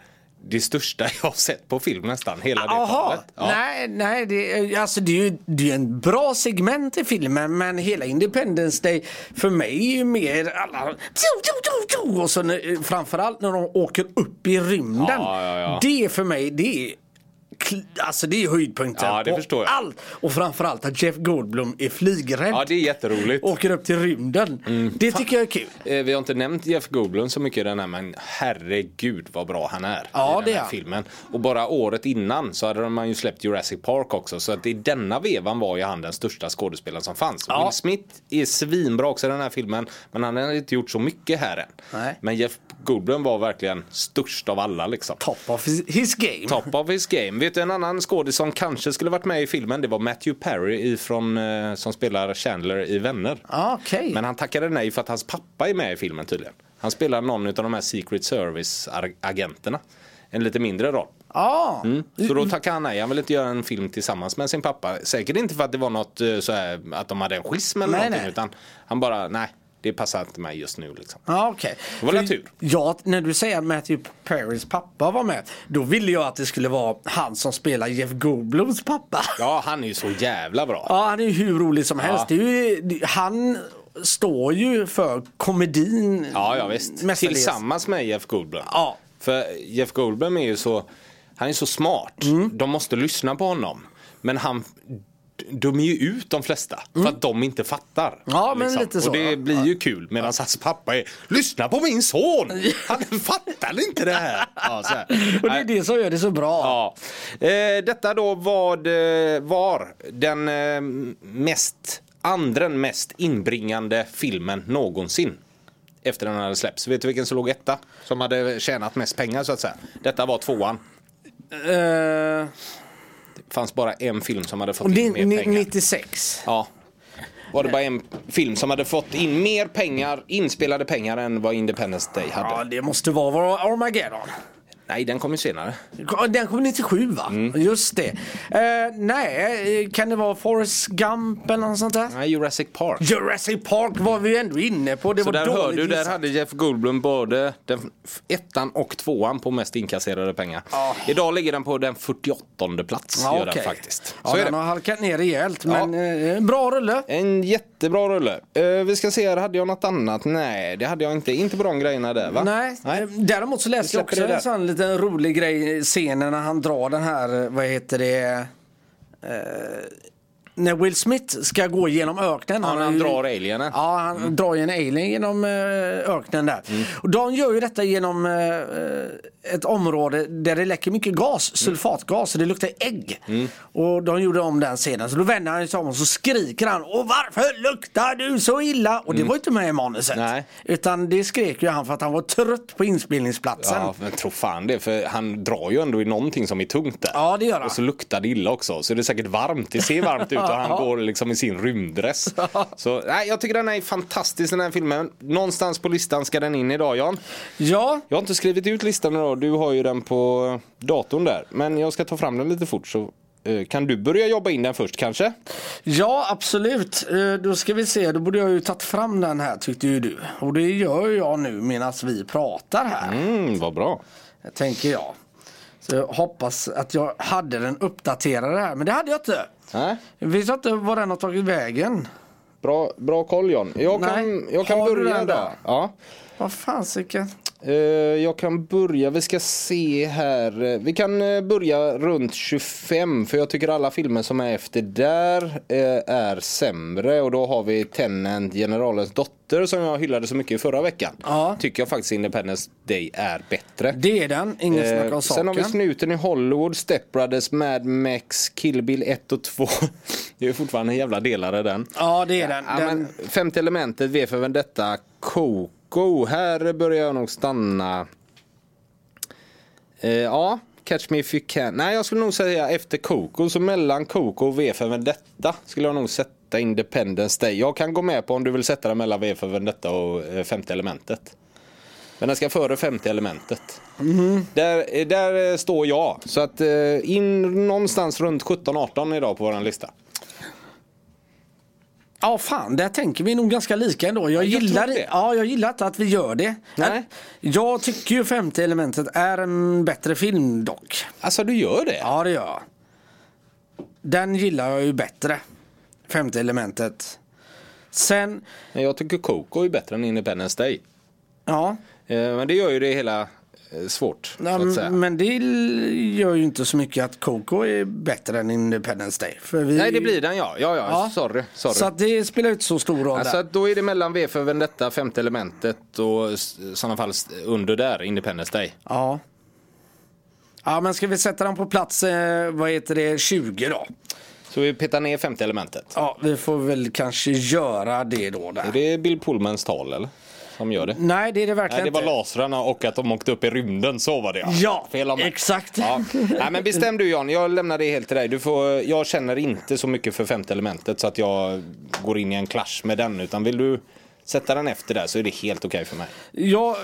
Speaker 1: det största jag har sett på film nästan. Hela det
Speaker 2: Jaha,
Speaker 1: talet. Ja.
Speaker 2: nej, nej det, är- alltså det är ju det är en bra segment i filmen men hela Independence Day för mig är ju mer alla tjo, tjo, tjo, tjo, och så eh, när, framförallt när de åker upp i rymden.
Speaker 1: Ja, ja, ja.
Speaker 2: Det för mig det är kl- alltså det är höjdpunkten
Speaker 1: Ja, det
Speaker 2: på
Speaker 1: förstår jag.
Speaker 2: allt. Och framförallt att Jeff Goldblum är flygrädd.
Speaker 1: Ja, det är jätteroligt.
Speaker 2: Åker upp till rymden. Det tycker jag är kul.
Speaker 1: Eh, Vi har inte nämnt Jeff Goldblum så mycket i den här men herregud vad bra han är
Speaker 2: Ja,
Speaker 1: i den
Speaker 2: det är
Speaker 1: här
Speaker 2: han.
Speaker 1: filmen. Och bara året innan så hade man ju släppt Jurassic Park också så att i denna vevan var ju han den största skådespelaren som fanns.
Speaker 2: Ja.
Speaker 1: Will Smith är svinbra också i den här filmen men han har inte gjort så mycket här än.
Speaker 2: Nej.
Speaker 1: Men Jeff Goldblum var verkligen störst av alla liksom.
Speaker 2: Top of his, his game.
Speaker 1: Top of his game. Vet du en annan skådis som kanske skulle varit med i filmen? Det var Matthew Perry ifrån, eh, som spelar Chandler i Vänner.
Speaker 2: Ja, Ah, Okej.
Speaker 1: Men han tackade nej för att hans pappa är med i filmen tydligen. Han spelar någon av de här Secret Service-agenterna. En lite mindre roll.
Speaker 2: Ja.
Speaker 1: Så
Speaker 2: Mm.
Speaker 1: då tackade han nej. Han ville inte göra en film tillsammans med sin pappa. Säkert inte för att det var något eh, så här, att de hade en schism eller
Speaker 2: Nej,
Speaker 1: någonting.
Speaker 2: nej.
Speaker 1: Utan han bara, nej, det passar inte mig just nu liksom.
Speaker 2: Ja, Ah, okej.
Speaker 1: Det var väl
Speaker 2: För
Speaker 1: tur.
Speaker 2: Ja, när du säger att Matthew Perrys pappa var med, då ville jag att det skulle vara han som spelar Jeff Goldblums pappa.
Speaker 1: Ja, han är ju så jävla bra.
Speaker 2: Ja, han är ju hur rolig som helst. Det är ju, det- han står ju för komedin.
Speaker 1: Ja, ja visst.
Speaker 2: mestadels.
Speaker 1: Tillsammans med Jeff Goldblum.
Speaker 2: Ja.
Speaker 1: För Jeff Goldblum är ju så, han är så smart.
Speaker 2: Mm.
Speaker 1: De måste lyssna på honom. Men han dömer ju ut de flesta för att de inte fattar.
Speaker 2: Mm.
Speaker 1: Liksom.
Speaker 2: Ja, men lite så,
Speaker 1: Och det
Speaker 2: ja.
Speaker 1: blir ju kul medan hans pappa är Lyssna på min son! Han fattar inte det här! Ja, så här.
Speaker 2: Och det är det som gör det så bra.
Speaker 1: Ja. Eh, detta då vad, eh, var den eh, mest, andra mest inbringande filmen någonsin. Efter den hade släppts. Vet du vilken som låg etta? Som hade tjänat mest pengar så att säga. Detta var tvåan.
Speaker 2: Eh,
Speaker 1: Det fanns bara en film som hade fått
Speaker 2: och
Speaker 1: in mer
Speaker 2: ni, ni,
Speaker 1: pengar.
Speaker 2: 96.
Speaker 1: Ja. Var det bara en film som hade fått in mer pengar, inspelade pengar än vad Independence Day hade?
Speaker 2: Ja, det måste vara vår Armageddon.
Speaker 1: Nej, den kom ju senare.
Speaker 2: Den kom 97 va?
Speaker 1: Mm.
Speaker 2: Just det. Eh, nej, eh, kan det vara Forrest Gump eller något sånt där?
Speaker 1: Nej, Jurassic Park.
Speaker 2: Jurassic Park var vi ju ändå inne på. Det
Speaker 1: Så
Speaker 2: var
Speaker 1: där hör
Speaker 2: dåligt
Speaker 1: du, där
Speaker 2: gissat.
Speaker 1: hade Jeff Goldblum både den f- ettan och tvåan på mest inkasserade pengar. Idag ligger den på den 48 plats.
Speaker 2: Ja,
Speaker 1: gör den
Speaker 2: okej.
Speaker 1: faktiskt. Så
Speaker 2: Ja,
Speaker 1: är
Speaker 2: den
Speaker 1: det.
Speaker 2: har halkat ner rejält
Speaker 1: Ja.
Speaker 2: men eh, bra rulle.
Speaker 1: En jättebra rulle. Eh, vi ska se här, hade jag något annat? Nej, det hade jag inte. Inte på de grejerna där va?
Speaker 2: Nej.
Speaker 1: Nej.
Speaker 2: däremot så läste jag
Speaker 1: släpper det
Speaker 2: också
Speaker 1: där.
Speaker 2: en sån liten rolig grej i scenen när han drar den här, eh, vad heter det, eh, när Will Smith ska gå genom öknen.
Speaker 1: Han,
Speaker 2: har
Speaker 1: han
Speaker 2: ju-
Speaker 1: drar alienen.
Speaker 2: Ja, han
Speaker 1: Mm.
Speaker 2: drar ju en alien genom eh, öknen där. Och de gör ju detta genom eh, ett område där det läcker mycket gas,
Speaker 1: Mm.
Speaker 2: sulfatgas, och det luktar ägg. Och de gjorde om den scenen, så då vänder han sig om och så skriker han Och varför luktar du så illa? Och det var ju inte med i manuset.
Speaker 1: Mm. Nej.
Speaker 2: Utan det skrek ju han för att han var trött på inspelningsplatsen.
Speaker 1: Ja, men tro fan det, för han drar ju ändå i någonting som är tungt där.
Speaker 2: Ja, det gör han.
Speaker 1: Och så luktar det illa också, så det är säkert varmt. Det ser varmt ut och han går liksom i sin rymddress. Så, nej, jag tycker den är fantastisk den här filmen. Någonstans på listan ska den in idag Jan.
Speaker 2: Ja,
Speaker 1: Jag har inte skrivit ut listan idag, du har ju den på datorn där. Men jag ska ta fram den lite fort så eh, kan du börja jobba in den först kanske?
Speaker 2: ja absolut. Eh, Då ska vi se, då borde jag ju tagit fram den här tyckte ju du. Och det gör ju jag nu medan vi pratar här.
Speaker 1: Mm, vad bra.
Speaker 2: tänker jag. Så jag hoppas att jag hade den uppdaterade här, men det hade jag inte.
Speaker 1: Nej,
Speaker 2: Jag vet inte var den har tagit vägen.
Speaker 1: bra, bra koll Jan. Jag kan,
Speaker 2: Nej,
Speaker 1: jag kan
Speaker 2: har du
Speaker 1: börja
Speaker 2: den
Speaker 1: då.
Speaker 2: där?
Speaker 1: Ja.
Speaker 2: Vad fasiken.
Speaker 1: Eh, jag kan börja, vi ska se här. Eh, Vi kan eh, börja runt 25 för jag tycker alla filmer som är efter där eh, är sämre. Och då har vi Tennant, Generalens dotter som jag hyllade så mycket i förra veckan.
Speaker 2: Ja.
Speaker 1: Tycker jag faktiskt Independence Day är bättre.
Speaker 2: Det är den, inget snack
Speaker 1: Eh,
Speaker 2: om
Speaker 1: sen har vi
Speaker 2: saken.
Speaker 1: Snuten i Hollywood, Step Brothers, Mad Max, Kill Bill 1 och 2. Det är fortfarande en jävla delare den.
Speaker 2: Ja, det är den.
Speaker 1: Ja,
Speaker 2: den...
Speaker 1: men, femte elementet, V för Vendetta, Coco. Här börjar jag nog stanna. Eh, ja, Catch Me If You Can. Nej, jag skulle nog säga efter Coco. Så mellan Coco och V för Vendetta skulle jag nog sätta Independence Day. Jag kan gå med på om du vill sätta den mellan V för Vendetta och eh, femte elementet. Men den ska före femte elementet. Där, eh, där eh, står jag. Så att eh, in någonstans runt 17-18 idag på våran lista.
Speaker 2: Ja, fan, där tänker vi nog ganska lika ändå. Jag,
Speaker 1: jag
Speaker 2: gillar,
Speaker 1: tror det.
Speaker 2: ja, jag gillar inte att vi gör det.
Speaker 1: Nej.
Speaker 2: Jag tycker ju Femte elementet är en bättre film dock.
Speaker 1: Alltså du gör det?
Speaker 2: Ja, det gör jag. Den gillar jag ju bättre. Femte elementet. Sen,
Speaker 1: Men jag tycker Coco är bättre än Independence Day.
Speaker 2: ja.
Speaker 1: Eh, Men det gör ju det hela eh, svårt.
Speaker 2: Nej,
Speaker 1: så att säga.
Speaker 2: men det gör ju inte så mycket att Coco är bättre än Independence Day. För vi...
Speaker 1: Nej det blir den ja. Ja ja, sorry. sorry.
Speaker 2: Så att det spelar ju inte så stor roll
Speaker 1: Ja, så
Speaker 2: där.
Speaker 1: att då är det mellan V för Vendetta, femte elementet och s- i sådana fall s- under där, Independence Day.
Speaker 2: Ja. Ja men ska vi sätta den på plats, eh, vad heter det, 20 då?
Speaker 1: Så vi petar ner femte elementet.
Speaker 2: Ja vi får väl kanske göra det då
Speaker 1: Är
Speaker 2: där.
Speaker 1: det Bill Pullmans tal eller? Som gör det?
Speaker 2: Nej det är det verkligen
Speaker 1: Nej, det var
Speaker 2: inte.
Speaker 1: lasrarna och att de åkte upp i rymden, så var det
Speaker 2: Ja,
Speaker 1: Fel om mig.
Speaker 2: exakt.
Speaker 1: Ja. Nej, men bestäm du Jan, jag lämnar det helt till dig. Du får, jag känner inte så mycket för femte elementet så att jag går in i en clash med den. Utan vill du sätta den efter där så är det helt okej för mig.
Speaker 2: Jag,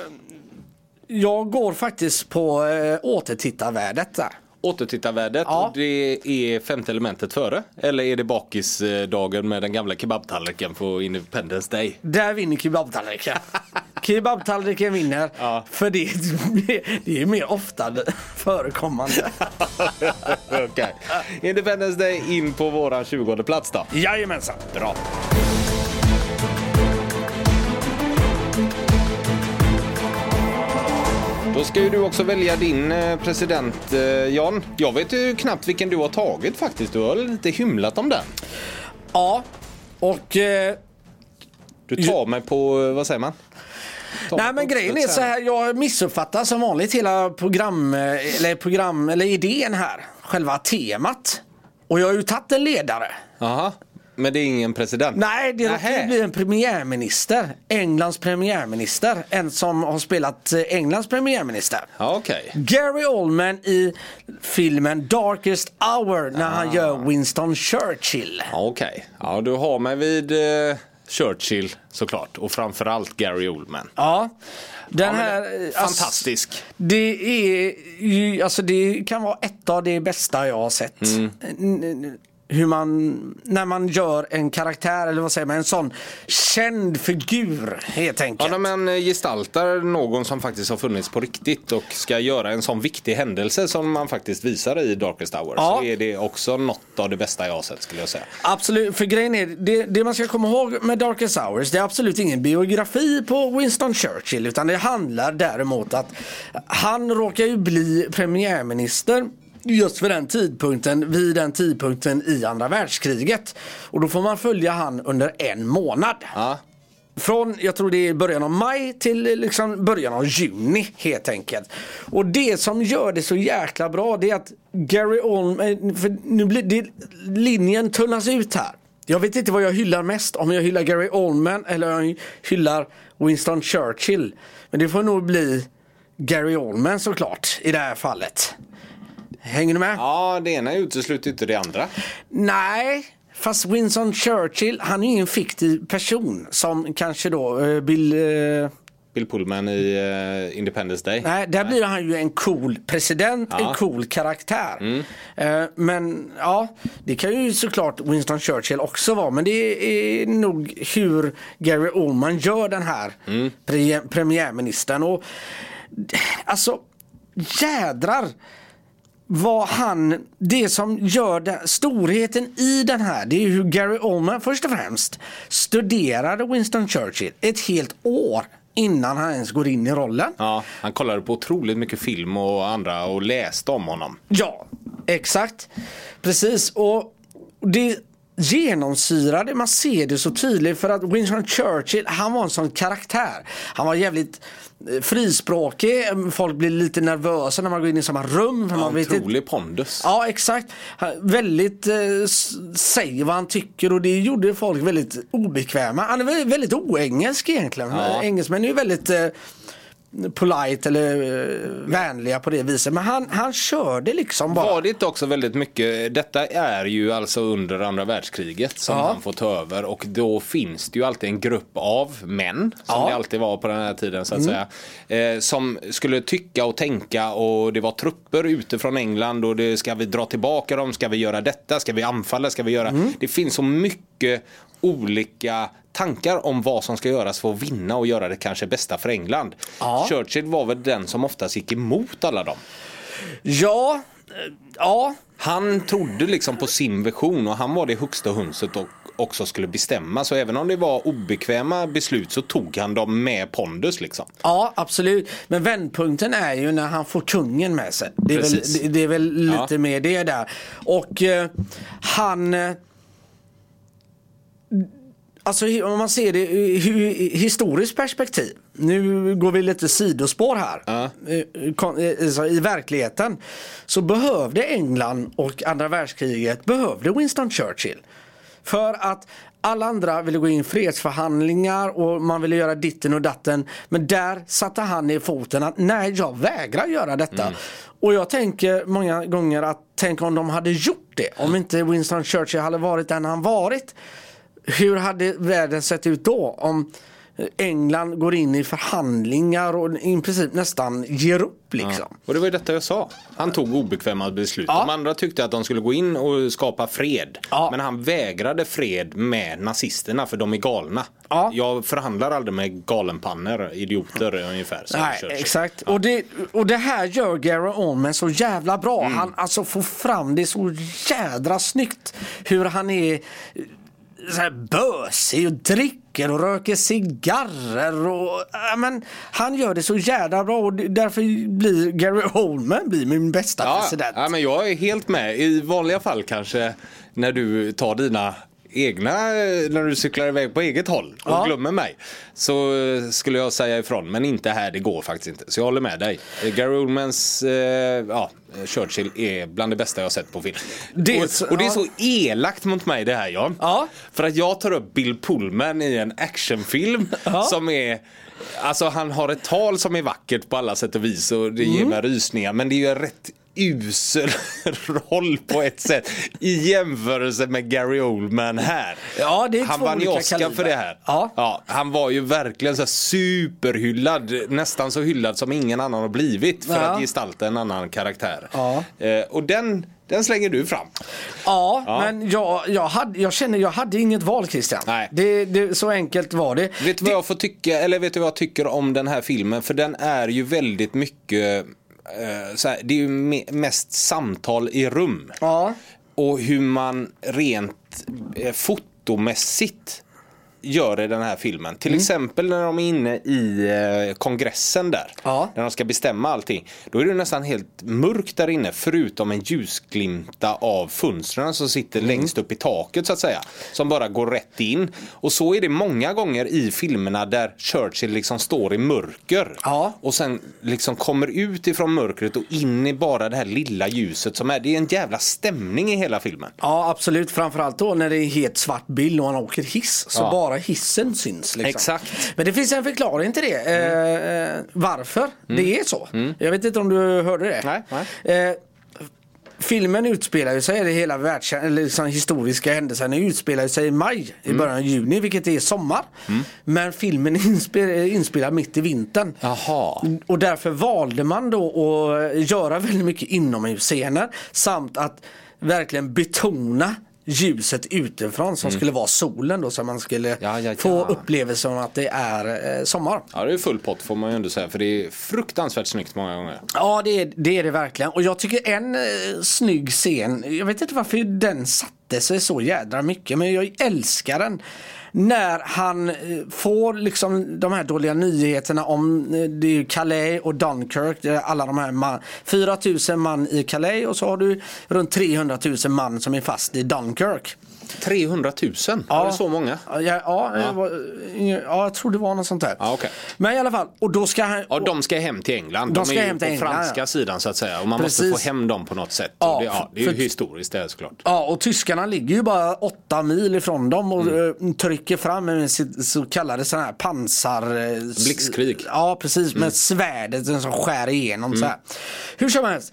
Speaker 2: jag går faktiskt på eh, återtittarvärdet där.
Speaker 1: Återtittarvärdet,
Speaker 2: Ja.
Speaker 1: och det är femte elementet före? Eller är det bakisdagen med den gamla kebabtallriken på Independence Day?
Speaker 2: Där vinner kebabtallriken. kebabtallriken vinner.
Speaker 1: Ja.
Speaker 2: För det är, det är mer ofta förekommande.
Speaker 1: Okej. Independence Day in på våran 20 plats då.
Speaker 2: Jajamensan.
Speaker 1: Bra. Då ska ju du också välja din eh, president, eh, Jan. Jag vet ju knappt vilken du har tagit faktiskt. Du har lite hymlat om den.
Speaker 2: Ja. Och eh,
Speaker 1: Du tar mig på, eh, vad säger man? Tar mig
Speaker 2: nej
Speaker 1: på
Speaker 2: men grejen är
Speaker 1: uppstuds
Speaker 2: så här, jag missuppfattar som vanligt hela program eh, eller, program, eller idén här. Själva temat. Och jag har ju tagit en ledare.
Speaker 1: Jaha, men det är ingen president?
Speaker 2: Nej, det
Speaker 1: Nähä.
Speaker 2: råkar bli en premiärminister. Englands premiärminister. En som har spelat eh, Englands premiärminister.
Speaker 1: Ja, okej.
Speaker 2: Gary Oldman i filmen Darkest Hour när
Speaker 1: Ah.
Speaker 2: han gör Winston Churchill.
Speaker 1: Ja, okej. Ja, du har mig vid eh, Churchill såklart och framförallt Gary Oldman.
Speaker 2: Ja, den
Speaker 1: men
Speaker 2: här...
Speaker 1: det-
Speaker 2: alltså,
Speaker 1: Fantastisk.
Speaker 2: det är ju, alltså det kan vara ett av det bästa jag har sett.
Speaker 1: Mm.
Speaker 2: N- n- Hur man, när man gör en karaktär eller vad säger man, en sån känd figur helt
Speaker 1: Ja,
Speaker 2: enkelt.
Speaker 1: när man gestaltar någon som faktiskt har funnits på riktigt och ska göra en sån viktig händelse som man faktiskt visar i Darkest Hour
Speaker 2: Ja.
Speaker 1: så är det också något av det bästa jag har sett skulle jag säga.
Speaker 2: Absolut, för grejen är, det, det man ska komma ihåg med Darkest Hours, det är absolut ingen biografi på Winston Churchill utan det handlar däremot att han råkar ju bli premiärminister just för den tidpunkten, vid den tidpunkten i andra världskriget. Och då får man följa han under en månad.
Speaker 1: Ja,
Speaker 2: Från, jag tror det är början av maj till liksom början av juni helt enkelt. Och det som gör det så jäkla bra det är att Gary Oldman, eh, för nu blir det, linjen tunnas ut här. Jag vet inte vad jag hyllar mest, om jag hyllar Gary Oldman eller om jag hyllar Winston Churchill. Men det får nog bli Gary Oldman såklart i det här fallet. Hänger du med?
Speaker 1: ja det ena utesluter inte det andra.
Speaker 2: Nej, fast Winston Churchill, han är ju ingen fiktiv person som kanske då eh, Bill... eh,
Speaker 1: Bill Pullman i eh, Independence Day.
Speaker 2: Nej, där blir han ju en cool president, en cool karaktär. Eh, Men ja, det kan ju såklart Winston Churchill också vara. Men det är nog hur Gary Oldman gör den här pre- premiärministern. Och, alltså, jädrar vad han, det som gör den, storheten i den här, det är ju hur Gary Oldman först och främst studerade Winston Churchill ett helt år innan han ens går in i rollen.
Speaker 1: Ja, han kollade på otroligt mycket film och andra och läste om honom.
Speaker 2: Ja, exakt. Precis. Och det genomsyrar det. Man ser det så tydligt för att Winston Churchill, han var en sån karaktär. Han var jävligt eh, frispråkig. Folk blir lite nervösa när man går in i samma rum. För man vet inte
Speaker 1: Otrolig pondus.
Speaker 2: Ja exakt. Han- Väldigt, eh, s- säger vad han tycker och det gjorde folk väldigt obekväma. Han är väl- väldigt oengelsk egentligen.
Speaker 1: Ja.
Speaker 2: Engelsmän är ju väldigt eh, polite eller eh, vänliga på det viset. Men han, han körde liksom bara.
Speaker 1: Var det inte också väldigt mycket, detta är ju alltså under andra världskriget som
Speaker 2: Ja.
Speaker 1: han får ta över och då finns det ju alltid en grupp av män, som
Speaker 2: Ja. Mm.
Speaker 1: det alltid var på den här tiden så att säga, eh, som skulle tycka och tänka och det var trupper ute från England och det, ska vi dra tillbaka dem, ska vi göra detta, ska vi anfalla, ska vi göra,
Speaker 2: Mm.
Speaker 1: det finns så mycket olika tankar om vad som ska göras för att vinna och göra det kanske bästa för England.
Speaker 2: Ja.
Speaker 1: Churchill var väl den som oftast gick emot alla dem.
Speaker 2: Ja, eh, ja.
Speaker 1: Han trodde liksom på sin vision och han var det högsta hönset och också skulle bestämma. Så även om det var obekväma beslut så tog han dem med pondus liksom.
Speaker 2: Ja, absolut. Men vändpunkten är ju när han får kungen med sig. Det är, väl,
Speaker 1: Precis.
Speaker 2: det, det är väl lite
Speaker 1: Ja.
Speaker 2: mer det där. Och eh, han... Eh, alltså hi- om man ser det i hu- i historiskt perspektiv. Nu går vi lite sidospår här.
Speaker 1: Ja.
Speaker 2: Eh, kon- eh, alltså, I verkligheten så behövde England och andra världskriget behövde Winston Churchill. För att alla andra ville gå in i fredsförhandlingar och man ville göra ditten och datten. Men där satte han i foten att nej, jag vägrar göra detta. Och jag tänker många gånger att tänk om de hade gjort det. Om inte Winston Churchill hade varit den han varit. Hur hade världen sett ut då? Om England går in i förhandlingar och i princip nästan ger upp liksom.
Speaker 1: Och det var ju detta jag sa. Han tog obekväma beslut.
Speaker 2: Ja.
Speaker 1: De andra tyckte att de skulle gå in och skapa fred.
Speaker 2: Ja.
Speaker 1: Men han vägrade fred med nazisterna för de är galna.
Speaker 2: Ja.
Speaker 1: Jag förhandlar aldrig med galenpannor, idioter ungefär. som
Speaker 2: Nej,
Speaker 1: Churchill.
Speaker 2: exakt. Och, det, och det här gör Gary Oldman så jävla bra.
Speaker 1: Mm.
Speaker 2: Han alltså får fram det så jädra snyggt. Hur han är eh, så här bösig och dricker och röker cigarrer. Och, ja, men, han gör det så jädra bra och det- därför blir Gary Oldman blir min bästa
Speaker 1: Ja,
Speaker 2: president.
Speaker 1: ja, men jag är helt med. I vanliga fall kanske när du tar dina egna, eh, när du cyklar iväg på eget håll och
Speaker 2: Ja.
Speaker 1: glömmer mig. Så eh, skulle jag säga ifrån, men inte här, det går faktiskt inte. Så jag håller med dig. Eh, Gary Oldmans eh, ja, Churchill är bland det bästa jag har sett på film.
Speaker 2: Det är så-
Speaker 1: och, och det är
Speaker 2: ja.
Speaker 1: så elakt mot mig det här Jan.
Speaker 2: Ja.
Speaker 1: För att jag tar upp Bill Pullman i en actionfilm
Speaker 2: Ja.
Speaker 1: som är Alltså han har ett tal som är vackert på alla sätt och vis och det
Speaker 2: Mm.
Speaker 1: ger mig rysningar men det är ju en rätt usel roll på ett sätt i jämförelse med Gary Oldman här.
Speaker 2: Ja, det är
Speaker 1: han
Speaker 2: två
Speaker 1: vann ju
Speaker 2: olika
Speaker 1: Oscar
Speaker 2: kalibrar.
Speaker 1: för det här.
Speaker 2: Ja.
Speaker 1: han var ju verkligen så här superhyllad, nästan så hyllad som ingen annan har blivit för
Speaker 2: Ja.
Speaker 1: att gestalta en annan karaktär.
Speaker 2: Ja.
Speaker 1: Eh, och den, den slänger du fram.
Speaker 2: Ja,
Speaker 1: Ja.
Speaker 2: men jag, jag, hade, jag känner jag hade inget val Christian.
Speaker 1: Nej.
Speaker 2: Det, det, så enkelt var det.
Speaker 1: Vet du vad jag får tycka, eller vet du vad jag tycker om den här filmen? För den är ju väldigt mycket, eh, så här, det är ju me- mest samtal i rum.
Speaker 2: Ja.
Speaker 1: Och hur man rent eh, fotomässigt gör i den här filmen.
Speaker 2: Mm.
Speaker 1: Till exempel när de är inne i eh, kongressen där.
Speaker 2: Ja.
Speaker 1: När de ska bestämma allting. Då är det nästan helt mörkt där inne förutom en ljusglimta av fönstren som sitter längst upp i taket så att säga. Som bara går rätt in. Och så är det många gånger i filmerna där Churchill liksom står i mörker.
Speaker 2: Ja.
Speaker 1: Och sen liksom kommer ut ifrån mörkret och in i bara det här lilla ljuset som är. Det är en jävla stämning i hela filmen.
Speaker 2: Ja absolut, framförallt då när det är helt svart bild och han åker hiss. Så
Speaker 1: Ja.
Speaker 2: bara hissen syns. Liksom.
Speaker 1: Exakt. Mm.
Speaker 2: Men det finns en förklaring till det. Eh, eh, varför det är så. Jag vet inte om du hörde det.
Speaker 1: Nej,
Speaker 2: Eh, Filmen utspelar ju sig, eller hela världs, eller liksom historiska händelsen utspelar ju sig i maj,
Speaker 1: Mm.
Speaker 2: i början av juni, vilket är sommar. Men filmen är inspe- inspelad mitt i vintern.
Speaker 1: Jaha.
Speaker 2: Och därför valde man då att göra väldigt mycket inomhusscener samt att verkligen betona ljuset utifrån som skulle vara solen då så man skulle
Speaker 1: Mm. Ja, ja,
Speaker 2: få
Speaker 1: ja.
Speaker 2: upplevelsen att det är eh, sommar.
Speaker 1: Ja, det är full pott får man ju ändå säga för det är fruktansvärt snyggt många gånger.
Speaker 2: Ja det är, det är det verkligen och jag tycker en eh, snygg scen, jag vet inte varför den satte sig så jädra mycket men jag älskar den. När han eh, får liksom de här dåliga nyheterna om eh, det är ju Calais och Dunkirk, det är alla de här man, 4000 man i Calais och så har du runt 300 000 man som är fast i Dunkirk.
Speaker 1: 300 000? Ja. Var det så många?
Speaker 2: Ja, ja, jag var- eh, ja jag tror det var något sånt där.
Speaker 1: Ja, okej.
Speaker 2: Men i alla fall, och då ska han...
Speaker 1: Ja, de ska hem till England.
Speaker 2: De
Speaker 1: De,
Speaker 2: ska
Speaker 1: är ju
Speaker 2: hem
Speaker 1: på
Speaker 2: till England,
Speaker 1: franska
Speaker 2: ja.
Speaker 1: sidan så att säga. Och man måste
Speaker 2: Precis.
Speaker 1: få hem dem på något sätt.
Speaker 2: Ja,
Speaker 1: och det, ja, det är ju
Speaker 2: för-
Speaker 1: historiskt det här såklart.
Speaker 2: Ja, och tyskarna ligger ju bara åtta mil ifrån dem och
Speaker 1: Mm.
Speaker 2: eh, trycker fram med sitt så kallade sån här pansar... eh, s-
Speaker 1: Blixtkrig. Mm.
Speaker 2: Ja, precis. Med svärdet som skär igenom så här. Hur som helst.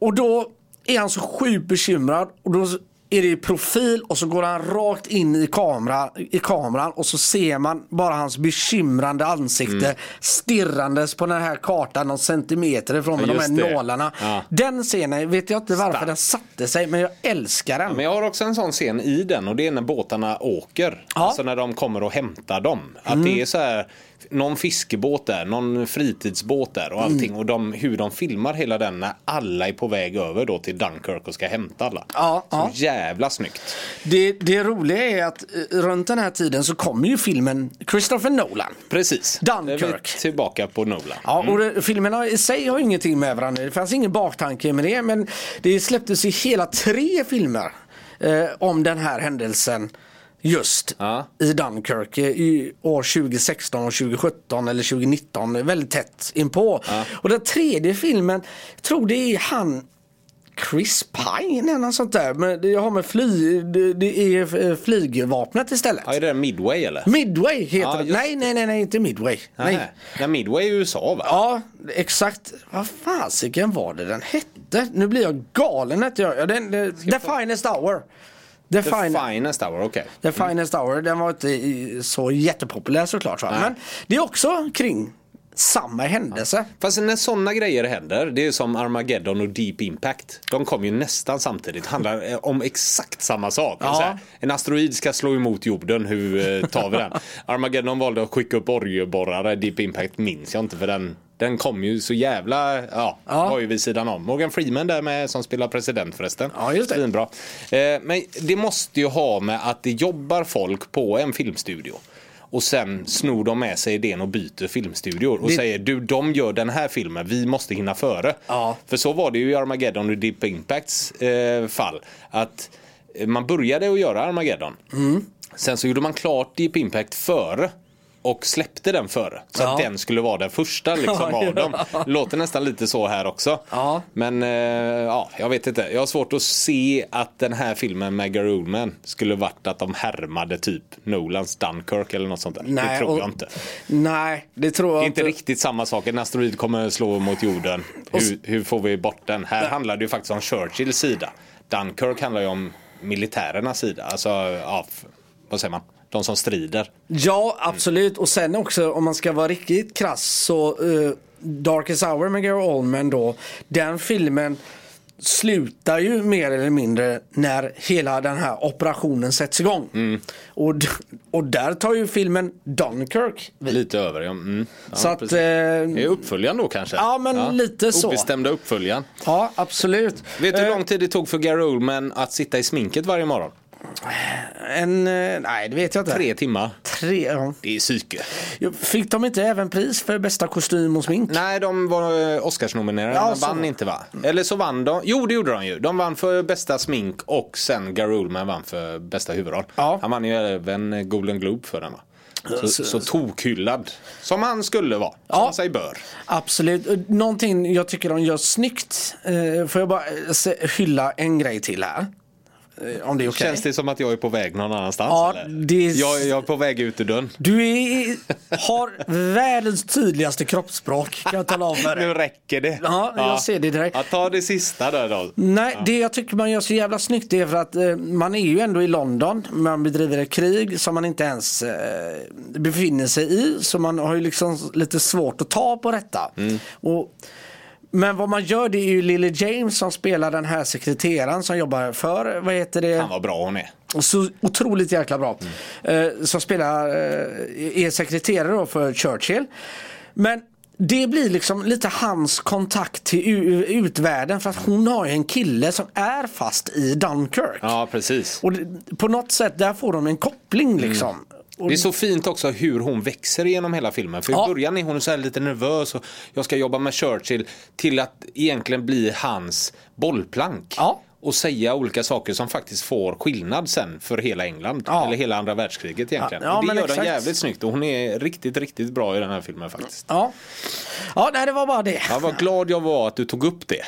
Speaker 2: Och då är han så sjukt bekymrad och då är det i profil och så går han rakt in i, kamera, i kameran och så ser man bara hans bekymrande ansikte
Speaker 1: Mm.
Speaker 2: stirrandes på den här kartan någon centimeter ifrån med de
Speaker 1: just
Speaker 2: här
Speaker 1: det.
Speaker 2: nålarna.
Speaker 1: Ja.
Speaker 2: Den scenen vet jag inte varför den satte sig men jag älskar den.
Speaker 1: Men jag har också en sån scen i den och det är när båtarna åker.
Speaker 2: Ja. Mm.
Speaker 1: Alltså när de kommer och hämtar dem. Att det är så här någon fiskebåt där, någon fritidsbåt där
Speaker 2: Mm.
Speaker 1: och allting. Och de, hur de filmar hela den när alla är på väg över då till Dunkirk och ska hämta alla.
Speaker 2: Ja,
Speaker 1: så
Speaker 2: ja.
Speaker 1: jävla snyggt.
Speaker 2: Det, det roliga är att eh, runt den här tiden så kommer ju filmen Christopher Nolan.
Speaker 1: Precis.
Speaker 2: Dunkirk.
Speaker 1: Då är vi Tillbaka på Nolan.
Speaker 2: Ja, och det, filmerna i sig har ingenting med varandra. Det fanns ingen baktanke med det. Men det släpptes ju hela tre filmer eh, om den här händelsen just
Speaker 1: Ja.
Speaker 2: i Dunkirk eh, i år 2016 och 2017 eller 2019. Väldigt tätt inpå. Och den tredje filmen, jag tror det är han Chris Pine eller något sånt där. Men det har med fly, det, det är eh, flygvapnet istället.
Speaker 1: Ja, är det där Midway eller?
Speaker 2: Midway heter
Speaker 1: Ja,
Speaker 2: det.
Speaker 1: just-
Speaker 2: Nej, nej, nej, nej, inte Midway. Nej.
Speaker 1: Nej. Nej, Midway är USA va?
Speaker 2: Ja, exakt. Vad fasiken var det den hette? Nu blir jag galen. Att jag, ja, den, den, the finest hour. The,
Speaker 1: The
Speaker 2: fin-
Speaker 1: finest hour, okej.
Speaker 2: the finest hour. Den var inte i- så jättepopulär såklart. Va? Men det är också kring samma händelse.
Speaker 1: Fast när sådana grejer händer, det är som Armageddon och Deep Impact. De kom ju nästan samtidigt, handlar eh, om exakt samma sak.
Speaker 2: Ja.
Speaker 1: Så här, en asteroid ska slå emot jorden, hur eh, tar vi den? Armageddon valde att skicka upp oljeborrare, Deep Impact minns jag inte för den, den kom ju så jävla, ja,
Speaker 2: Ja.
Speaker 1: var ju vid sidan om. Morgan Freeman där med som spelar president förresten.
Speaker 2: Ja, just det.
Speaker 1: Svinbra. Eh, men det måste ju ha med att det jobbar folk på en filmstudio. Och sen snor de med sig idén och byter filmstudior och
Speaker 2: Det-
Speaker 1: säger du de gör den här filmen, vi måste hinna före.
Speaker 2: Ja.
Speaker 1: För så var det ju i Armageddon och Deep Impacts eh, fall. Att eh, man började att göra Armageddon.
Speaker 2: Mm.
Speaker 1: Sen så gjorde man klart Deep Impact före och släppte den före. Så att
Speaker 2: Ja.
Speaker 1: den skulle vara den första liksom,
Speaker 2: Ja,
Speaker 1: av dem.
Speaker 2: ja.
Speaker 1: Låter nästan lite så här också.
Speaker 2: Ja.
Speaker 1: Men eh, ja, jag vet inte. Jag har svårt att se att den här filmen med Gary Oldman skulle varit att de härmade typ Nolans Dunkirk eller något sånt där. det tror
Speaker 2: och-
Speaker 1: jag inte.
Speaker 2: Nej, det tror
Speaker 1: Det
Speaker 2: jag
Speaker 1: är inte riktigt samma sak. En asteroid kommer slå mot jorden. Hur, hur får vi bort den? Här handlar det ju faktiskt om Churchills sida. Dunkirk handlar ju om militärernas sida. Alltså, ja, f- vad säger man? De som strider.
Speaker 2: Ja, absolut. Och sen också om man ska vara riktigt krass så eh, Darkest Hour med Gary Oldman då. Den filmen slutar ju mer eller mindre när hela den här operationen sätts igång.
Speaker 1: Mm.
Speaker 2: Och, d- och där tar ju filmen Dunkirk vid.
Speaker 1: Lite över, ja. Mm. ja
Speaker 2: så att,
Speaker 1: precis.
Speaker 2: eh,
Speaker 1: Det är uppföljaren då kanske?
Speaker 2: Ja, men lite så.
Speaker 1: Obestämda uppföljaren.
Speaker 2: ja absolut.
Speaker 1: Vet du hur
Speaker 2: Eh,
Speaker 1: lång tid det tog för Gary Oldman att sitta i sminket varje morgon?
Speaker 2: En, eh, nej, det vet jag inte.
Speaker 1: Tre timmar.
Speaker 2: Tre ja.
Speaker 1: Det är psyke.
Speaker 2: Fick de inte även pris för bästa kostym och smink?
Speaker 1: Nej, de var eh, Oscarsnominerade
Speaker 2: Ja,
Speaker 1: men
Speaker 2: så
Speaker 1: vann
Speaker 2: var- Mm.
Speaker 1: inte va? Eller så vann de. Jo, det gjorde de ju. De vann för bästa smink och sen Gary Oldman vann för bästa huvudroll.
Speaker 2: Ja.
Speaker 1: Han vann ju även Golden Globe för den va? Så, så, tokhyllad. Som han skulle vara. Som
Speaker 2: Ja.
Speaker 1: han sig bör.
Speaker 2: Absolut. Någonting jag tycker de gör snyggt. Eh, får jag bara eh, se- hylla en grej till här? Eh, om det är okej?
Speaker 1: Känns det som att jag är på väg någon annanstans?
Speaker 2: Ja,
Speaker 1: eller?
Speaker 2: det är-
Speaker 1: Jag, jag är på väg ut ur dörren.
Speaker 2: Du är, har världens tydligaste kroppsspråk kan jag tala om för dig.
Speaker 1: Nu räcker det.
Speaker 2: Ja, jag ser det direkt.
Speaker 1: Ja, ta det sista där då.
Speaker 2: Nej, det jag tycker man gör så jävla snyggt är för att eh, man är ju ändå i London. Man bedriver ett krig som man inte ens eh, befinner sig i. Så man har ju liksom lite svårt att ta på detta. Och, men vad man gör det är ju Lily James som spelar den här sekreteraren som jobbar för, vad heter det?
Speaker 1: Fan vad bra hon är.
Speaker 2: Så otroligt jäkla bra. Eh, som spelar, eh, är sekreterare då för Churchill. Men det blir liksom lite hans kontakt till u- utvärlden för att hon har ju en kille som är fast i Dunkirk.
Speaker 1: Ja, precis.
Speaker 2: Och det, på något sätt där får de en koppling
Speaker 1: Mm.
Speaker 2: liksom. Och
Speaker 1: Det är så fint också hur hon växer genom hela filmen. För
Speaker 2: Ja.
Speaker 1: i början är hon så här lite nervös och jag ska jobba med Churchill till att egentligen bli hans bollplank.
Speaker 2: Ja.
Speaker 1: Och säga olika saker som faktiskt får skillnad sen för hela England.
Speaker 2: Ja.
Speaker 1: Eller hela andra världskriget egentligen.
Speaker 2: Ja, ja,
Speaker 1: och det
Speaker 2: men
Speaker 1: gör
Speaker 2: exakt.
Speaker 1: hon jävligt snyggt och hon är riktigt, riktigt bra i den här filmen faktiskt.
Speaker 2: Ja, ja nej, det var bara det.
Speaker 1: Ja, vad glad jag var att du tog upp det.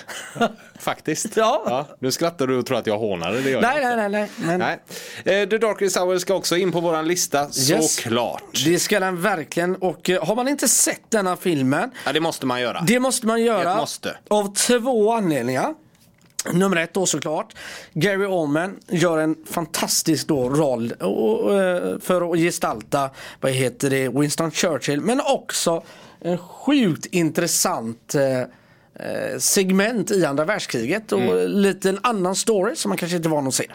Speaker 1: Faktiskt.
Speaker 2: Ja.
Speaker 1: Nu skrattar du och tror att jag hånar dig.
Speaker 2: Nej, nej, nej. nej. Men
Speaker 1: Nej. Eh, The Darkest Hour ska också in på våran lista,
Speaker 2: Yes.
Speaker 1: såklart.
Speaker 2: Det ska den verkligen. Och eh, har man inte sett denna filmen
Speaker 1: Ja, det måste man göra.
Speaker 2: Det måste man göra.
Speaker 1: Ett måste.
Speaker 2: Av två anledningar. Nummer ett då såklart. Gary Oldman gör en fantastisk då roll och, och, eh, för att gestalta vad heter det, Winston Churchill. Men också en sjukt intressant eh, eh, segment i andra världskriget och
Speaker 1: Mm.
Speaker 2: lite en annan story som man kanske inte är van att se.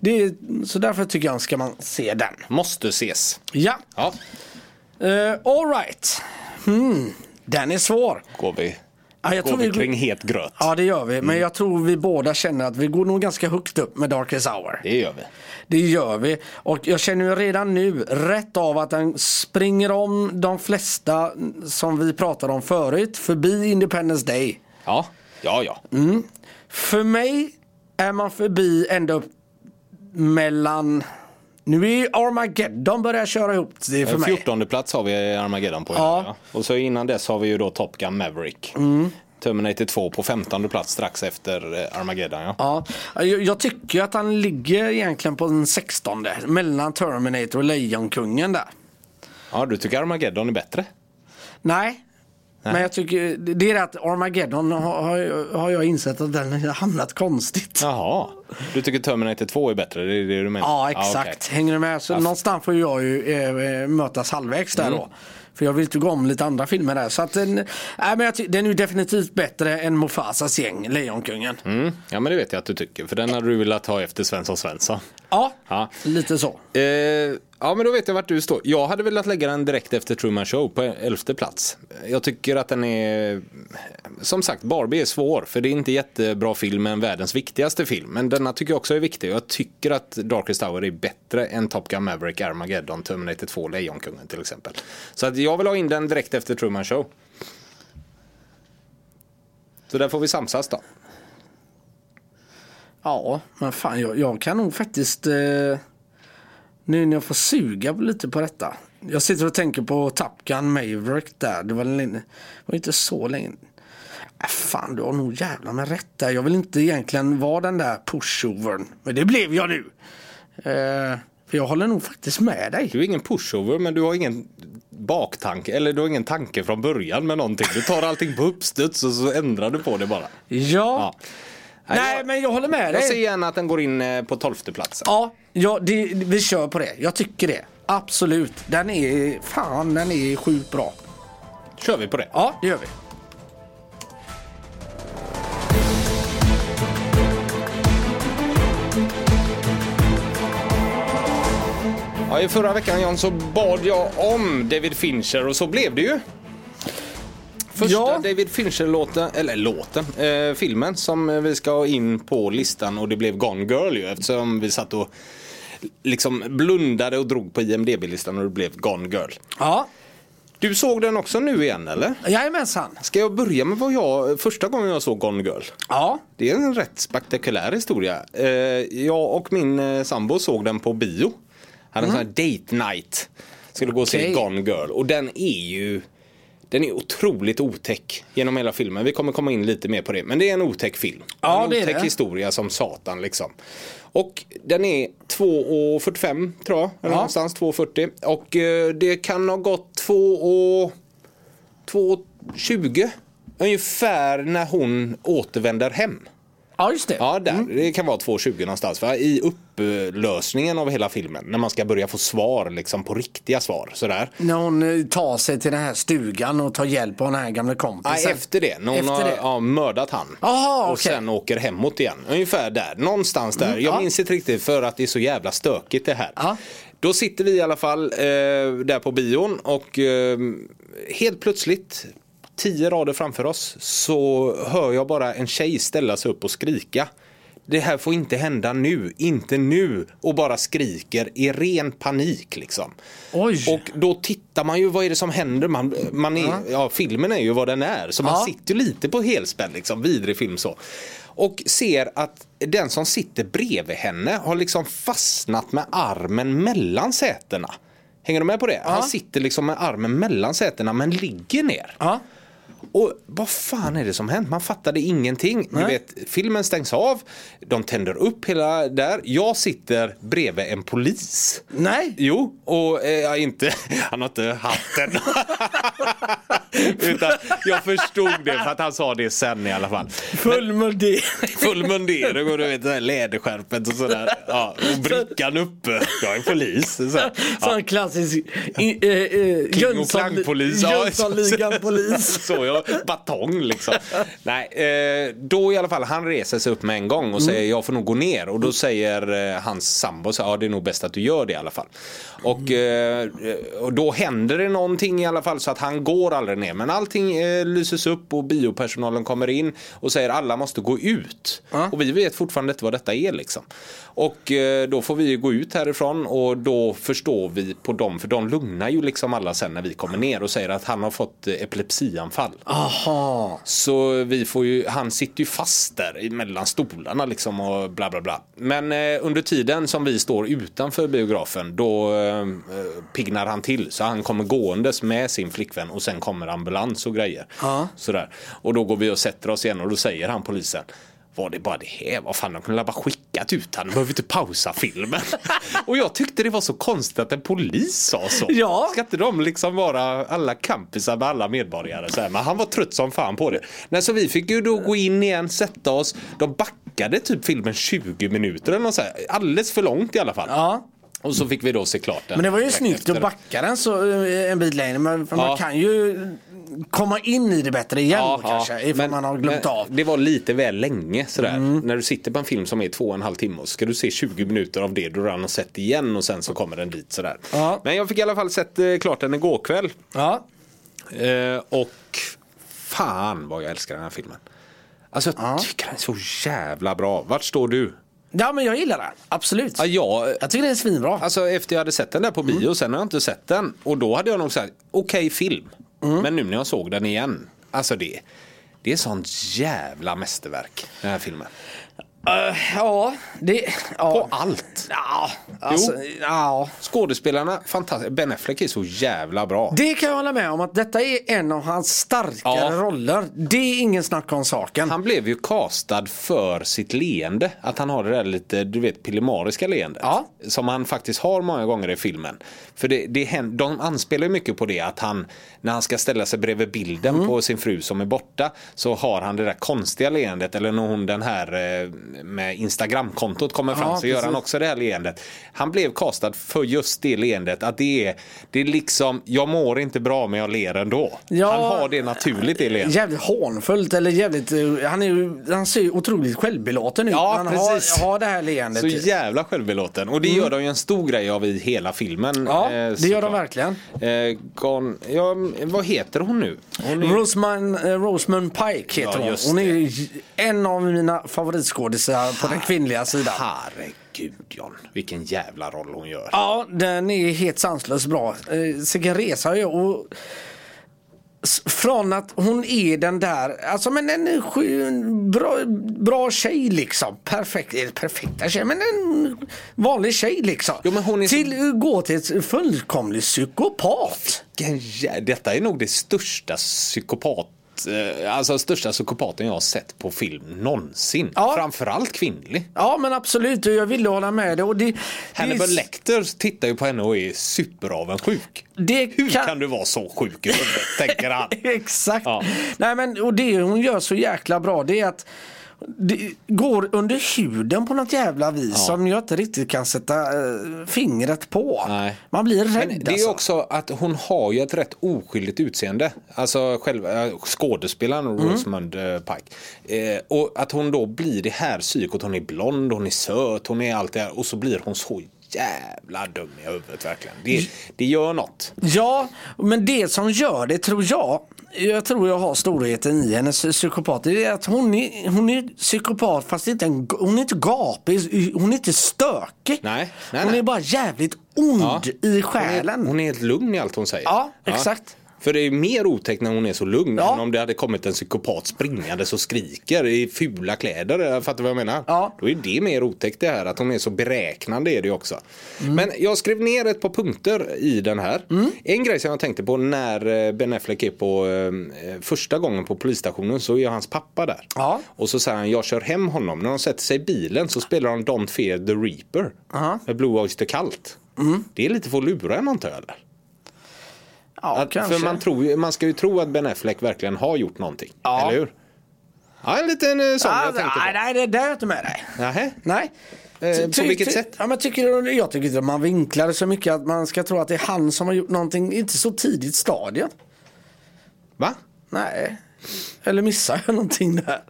Speaker 2: Det är, så därför tycker jag ska man se den.
Speaker 1: Måste ses.
Speaker 2: Ja, eh,
Speaker 1: Ja,
Speaker 2: uh, alright. Hmm. Den är svår.
Speaker 1: går vi
Speaker 2: Ja, jag
Speaker 1: Går
Speaker 2: tror
Speaker 1: vi
Speaker 2: vi-
Speaker 1: kring het gröt.
Speaker 2: Ja, det gör vi. Men jag tror vi båda känner att vi går nog ganska högt upp med Darkest Hour.
Speaker 1: Det gör vi.
Speaker 2: Det gör vi. Och jag känner ju redan nu, rätt av att den springer om de flesta som vi pratade om förut, förbi Independence Day.
Speaker 1: Ja, ja, ja.
Speaker 2: Mm, För mig är man förbi ända upp mellan... Nu är ju Armageddon börjar köra ihop det för mig.
Speaker 1: 14 plats har vi Armageddon på.
Speaker 2: Ja. Mm.
Speaker 1: Och så innan dess har vi ju då Top Gun Maverick. Terminator 2 på 15 plats strax efter eh, Armageddon. Ja.
Speaker 2: Ja, jag, jag tycker ju att han ligger egentligen på den 16 mellan Terminator och Lejonkungen där.
Speaker 1: ja, du tycker Armageddon är bättre?
Speaker 2: Nej. Men jag tycker, det det är det att Armageddon har, har jag- har jag insett att den har hamnat konstigt. Ja,
Speaker 1: Jaha, du tycker Terminator 2 är bättre? Det är det du menar?
Speaker 2: exakt.
Speaker 1: okej.
Speaker 2: Hänger du med? Så någonstans får jag ju eh, mötas halvvägs där då. För jag vill ju gå om lite andra filmer där. Så att den, nej, men jag ty- den är ju definitivt bättre än Mufasas gäng, Lejonkungen.
Speaker 1: mm. Ja, men det vet jag att du tycker. För den hade du velat ha efter Svensson Svensson.
Speaker 2: Ja,
Speaker 1: Ja.
Speaker 2: lite så.
Speaker 1: Eh, ja, men då vet jag vart du står. Jag hade velat lägga den direkt efter Truman Show på elfte plats. Jag tycker att den är... Som sagt, Barbie är svår för det är inte jättebra film men världens viktigaste film. Men denna tycker jag också är viktig och jag tycker att Darkest Hour är bättre än Top Gun Maverick, Armageddon, Terminator 2, Lejonkungen till exempel. Så att jag vill ha in den direkt efter Truman Show. Så där får vi samsas då.
Speaker 2: Ja, men fan jag, jag kan nog faktiskt eh, nu när jag får suga på lite på detta. Jag sitter och tänker på Top Gun Maverick där. Det var, länge, var inte så länge. Äh, fan, du har nog jävla med rätt där. Jag vill inte egentligen vara den där pushovern. Men det blev jag nu. Eh, för jag håller nog faktiskt med dig.
Speaker 1: Du är ingen pushover men du har ingen baktanke eller du har ingen tanke från början med någonting. Du tar allting på uppstuds och så ändrar du på det bara.
Speaker 2: Ja. Nej,
Speaker 1: jag,
Speaker 2: men jag håller med
Speaker 1: jag
Speaker 2: dig.
Speaker 1: ser gärna att den går in eh, på tolfte platsen.
Speaker 2: Ja, ja det, vi kör på det. Jag tycker det. Absolut. Den är, fan den är sjukt bra.
Speaker 1: Kör vi på det.
Speaker 2: Ja, det gör vi.
Speaker 1: Ja, I förra veckan Jan så bad jag om David Fincher och så blev det ju. Första
Speaker 2: Ja.
Speaker 1: David Fincher-låten, eller låten, eh, filmen som eh, vi ska ha in på listan och det blev Gone Girl ju eftersom vi satt och liksom blundade och drog på IMDB-listan och det blev Gone Girl.
Speaker 2: Ja,
Speaker 1: Du såg den också nu igen eller?
Speaker 2: jajamensan.
Speaker 1: Ska jag börja med vad jag, första gången jag såg Gone Girl?
Speaker 2: Ja.
Speaker 1: Det är en rätt spektakulär historia. Eh, Jag och min eh, sambo såg den på bio. Hade en sån här date night. Skulle gå och se
Speaker 2: Mm. Okej.
Speaker 1: Gone Girl och den är ju den är otroligt otäck genom hela filmen. Vi kommer komma in lite mer på det. Men det är en otäck film.
Speaker 2: Ja,
Speaker 1: en
Speaker 2: det är
Speaker 1: otäck
Speaker 2: det.
Speaker 1: historia som satan liksom. Och den är 2.45 tror jag. Eller
Speaker 2: Ja.
Speaker 1: någonstans 2.40. Och eh, det kan ha gått 2 och... 2.20 ungefär när hon återvänder hem.
Speaker 2: ja, just det.
Speaker 1: Ja, där. Det kan vara 2.20 någonstans. Va? I upplösningen av hela filmen. När man ska börja få svar liksom på riktiga svar. Sådär.
Speaker 2: När hon eh, tar sig till den här stugan och tar hjälp av den här gamla kompisen.
Speaker 1: Ja, efter det. När hon
Speaker 2: Efter
Speaker 1: har
Speaker 2: det.
Speaker 1: Ja, mördat han.
Speaker 2: Jaha,
Speaker 1: och
Speaker 2: okej. Mm,
Speaker 1: sen åker hemåt igen. Ungefär där. Någonstans där. Jag
Speaker 2: ja.
Speaker 1: minns inte riktigt för att det är så jävla stökigt det här.
Speaker 2: Ja.
Speaker 1: Då sitter vi i alla fall eh, där på bion och eh, helt plötsligt tio rader framför oss så hör jag bara en tjej ställa sig upp och skrika. Det här får inte hända nu, inte nu. Och bara skriker i ren panik liksom.
Speaker 2: Oj.
Speaker 1: Och då tittar man ju, vad är det som händer? Man, man är, ja, filmen är ju vad den är, så man
Speaker 2: Ja.
Speaker 1: sitter ju lite på helspänn, liksom, vidrig film så. Och ser att den som sitter bredvid henne har liksom fastnat med armen mellan sätena. Hänger du med på det? Han sitter liksom med armen mellan sätena men ligger ner.
Speaker 2: Ja.
Speaker 1: Och vad fan är det som hänt? Man fattade ingenting. Du vet, filmen stängs av, de tänder upp hela där. Jag sitter bredvid en polis.
Speaker 2: Nej.
Speaker 1: Jo, och eh, jag inte, han har inte hatten. Utan jag förstod det för att han sa det sen i alla fall.
Speaker 2: Full mundering.
Speaker 1: Full mundering och du vet det här läderskärpet och sådär. Ja, och brickan uppe. Jag är polis. Så här. Ja,
Speaker 2: Sån klassisk i- eh, eh,
Speaker 1: King och
Speaker 2: Jönsson-
Speaker 1: klangpolis. Ja,
Speaker 2: Jönssonligan-polis.
Speaker 1: Så jag, batong liksom. Nej, eh, då i alla fall, han reser sig upp med en gång och
Speaker 2: Mm.
Speaker 1: säger jag får nog gå ner. Och då säger eh, hans sambo så här, ja det är nog bäst att du
Speaker 2: Mm.
Speaker 1: gör det i alla fall. Och, eh, och då händer det någonting i alla fall så att han går aldrig världen är. Men allting eh, lyses upp och biopersonalen kommer in och säger alla måste gå ut.
Speaker 2: Ja.
Speaker 1: Och vi vet fortfarande inte vad detta är liksom. Och eh, då får vi ju gå ut härifrån och då förstår vi på dem, för de lugnar ju liksom alla sen när vi kommer ner och säger att han har fått eh, epilepsianfall.
Speaker 2: Aha.
Speaker 1: Så vi får ju, han sitter ju fast där i- mellan stolarna liksom och bla bla bla. Men eh, under tiden som vi står utanför biografen då eh, eh, pignar han till. Så han kommer gåendes med sin flickvän och sen kommer ambulans och grejer.
Speaker 2: Ja.
Speaker 1: Sådär. Och då går vi och sätter oss igen och då säger han polisen var det bara det här? Vad fan, de kunde bara skickat ut han. De behöver inte pausa filmen. och jag tyckte det var så konstigt att en polis sa så.
Speaker 2: Ja.
Speaker 1: Ska inte de liksom vara alla kampisar med alla medborgare? Så här. Men han var trött som fan på det. Nej, så vi fick ju då gå in igen, sätta oss. De backade typ filmen 20 minuter eller något så här. Alldeles för långt i alla fall.
Speaker 2: Ja.
Speaker 1: Och så fick vi då se klart den.
Speaker 2: Men det var ju
Speaker 1: direkt
Speaker 2: snyggt
Speaker 1: efter
Speaker 2: att
Speaker 1: det.
Speaker 2: backa den så eh, en bit längre. Men för
Speaker 1: Ja.
Speaker 2: man kan ju komma in i det bättre igen
Speaker 1: Ja,
Speaker 2: då kanske.
Speaker 1: ja.
Speaker 2: Ifall man har glömt
Speaker 1: men
Speaker 2: av. Mm.
Speaker 1: Det var lite väl länge sådär. När du sitter på en film som är två och en halv timme och ska du se 20 minuter av det du redan har sett igen och sen så kommer den dit sådär.
Speaker 2: Ja.
Speaker 1: Men jag fick i alla fall sett eh, klart den igår kväll.
Speaker 2: Ja.
Speaker 1: Eh, och fan vad jag älskar den här filmen. Alltså jag tycker den är så jävla bra. Vart står du?
Speaker 2: ja, men jag gillar den. Absolut.
Speaker 1: Ja, jag,
Speaker 2: Jag tycker den är svinbra.
Speaker 1: alltså efter jag hade sett den där på bio, sen har jag inte sett den. Och då hade jag nog sagt, okej film. Men nu när jag såg den igen, alltså det, det är sånt jävla mästerverk den här filmen.
Speaker 2: Eh, ja, det... Ja.
Speaker 1: På allt.
Speaker 2: Ja, alltså, ja.
Speaker 1: Skådespelarna, fantastiska. Ben Affleck är så jävla bra.
Speaker 2: Det kan jag hålla med om att detta är en av hans starkare
Speaker 1: Ja.
Speaker 2: roller. Det är ingen snack om saken.
Speaker 1: Han blev ju castad för sitt leende. Att han har det där lite, du vet, pillemariska leendet.
Speaker 2: Ja.
Speaker 1: Som han faktiskt har många gånger i filmen. För det, det händer, de anspelar ju mycket på det att han, när han ska ställa sig bredvid bilden
Speaker 2: Mm.
Speaker 1: på sin fru som är borta, så har han det där konstiga leendet. Eller när hon den här eh, med Instagramkontot kommer fram
Speaker 2: Ja,
Speaker 1: så gör han
Speaker 2: precis.
Speaker 1: också det här leendet. Han blev castad för just det leendet. Att det är, det är liksom, jag mår inte bra men jag ler ändå.
Speaker 2: Ja.
Speaker 1: Han har det naturligt det leendet.
Speaker 2: Jävligt hånfullt eller jävligt... eh, Han, är, ju- han ser ju otroligt självbelåten ut.
Speaker 1: Ja,
Speaker 2: han
Speaker 1: precis.
Speaker 2: Har, har det här leendet.
Speaker 1: Så jävla självbelåten. Och det gör de ju en stor grej av i hela filmen.
Speaker 2: Mm.
Speaker 1: Eh,
Speaker 2: Ja, det gör de
Speaker 1: såklart.
Speaker 2: verkligen.
Speaker 1: Eh, Gon, ja, vad heter hon nu? Hon är,
Speaker 2: Roseman, eh, Roseman Pike
Speaker 1: Ja,
Speaker 2: heter hon.
Speaker 1: just
Speaker 2: Hon är
Speaker 1: det.
Speaker 2: ju en av mina favoritskådisar på den kvinnliga sidan.
Speaker 1: herregud John, vilken jävla roll hon gör.
Speaker 2: Ja, den är helt sanslöst bra. Eh, Sicken resa jag och s- från att hon är den där, alltså men en skön, bra, bra tjej liksom. Perfekt, eller perfekta tjej, men en vanlig tjej liksom.
Speaker 1: Jo, men hon är så-
Speaker 2: Till att gå till ett fullkomligt psykopat.
Speaker 1: Vilken jä- Detta är nog det största psykopat eh, Alltså största psykopaten jag har sett på film någonsin.
Speaker 2: Ja.
Speaker 1: Framförallt kvinnlig.
Speaker 2: Ja men absolut, och jag ville hålla med dig. Och det,
Speaker 1: Hannibal
Speaker 2: det,
Speaker 1: Lecter tittar ju på henne och är superavundsjuk.
Speaker 2: det
Speaker 1: Hur kan... du vara så sjuk i huvudet, tänker han.
Speaker 2: Exakt.
Speaker 1: Ja.
Speaker 2: Nej, men, och det hon gör så jäkla bra det är att det går under huden på något jävla vis som jag inte riktigt kan sätta eh, fingret på.
Speaker 1: Nej.
Speaker 2: Man blir
Speaker 1: Men
Speaker 2: rädd
Speaker 1: det är ju
Speaker 2: alltså.
Speaker 1: också att hon har ju ett rätt oskyldigt utseende. Alltså själva äh, skådespelaren
Speaker 2: Mm.
Speaker 1: Rosamund eh, Pike. Eh, och att hon då blir det här psykot. Hon är blond, hon är söt, hon är allt det här. Och så blir hon så jävla dum i huvudet verkligen. Det, det gör något.
Speaker 2: Ja, men det som gör det tror jag, jag tror jag har storheten i hennes psykopat, det är att hon är, hon är psykopat fast inte en, hon är inte gapig, hon är inte stökig.
Speaker 1: Nej, nej,
Speaker 2: hon
Speaker 1: nej.
Speaker 2: är bara jävligt ond i
Speaker 1: Hon är,
Speaker 2: själen.
Speaker 1: hon är helt lugn i allt hon säger.
Speaker 2: Ja, exakt.
Speaker 1: För det är ju mer otäckt när hon är så lugn
Speaker 2: Ja.
Speaker 1: än om det hade kommit en psykopat springande och skriker i fula kläder. Jag Fattar du vad jag menar?
Speaker 2: Ja.
Speaker 1: Då är det mer otäckt det här att hon är så beräknande är det ju också.
Speaker 2: Mm.
Speaker 1: Men jag skrev ner ett par punkter i den här. En grej som jag tänkte på när eh, Ben Affleck är på eh, första gången på polisstationen så är hans pappa där.
Speaker 2: Ja.
Speaker 1: Och så säger han jag kör hem honom. När de sätter sig i bilen så spelar de Don't Fear the Reaper
Speaker 2: Aha. Mm.
Speaker 1: med Blue Oyster Cult. Det är lite för att lura en antar jag. eller?
Speaker 2: ja,
Speaker 1: Att, för man, tror, ju- man ska ju tro att Ben Affleck verkligen har gjort någonting.
Speaker 2: Ja.
Speaker 1: Eller hur? Ja, en liten eh, sån jag
Speaker 2: Ah,
Speaker 1: tänkte
Speaker 2: nej,
Speaker 1: på.
Speaker 2: nej, det där är jag inte med dig.
Speaker 1: Nähä?
Speaker 2: Nej.
Speaker 1: Eh,
Speaker 2: Ty-
Speaker 1: på
Speaker 2: ty-
Speaker 1: vilket
Speaker 2: ty-
Speaker 1: sätt?
Speaker 2: Ja, men tycker, du- jag tycker inte man vinklar det så mycket att man ska tro att det är han som har gjort någonting, inte så tidigt stadium.
Speaker 1: Va?
Speaker 2: Nej. Eller missar jag någonting där?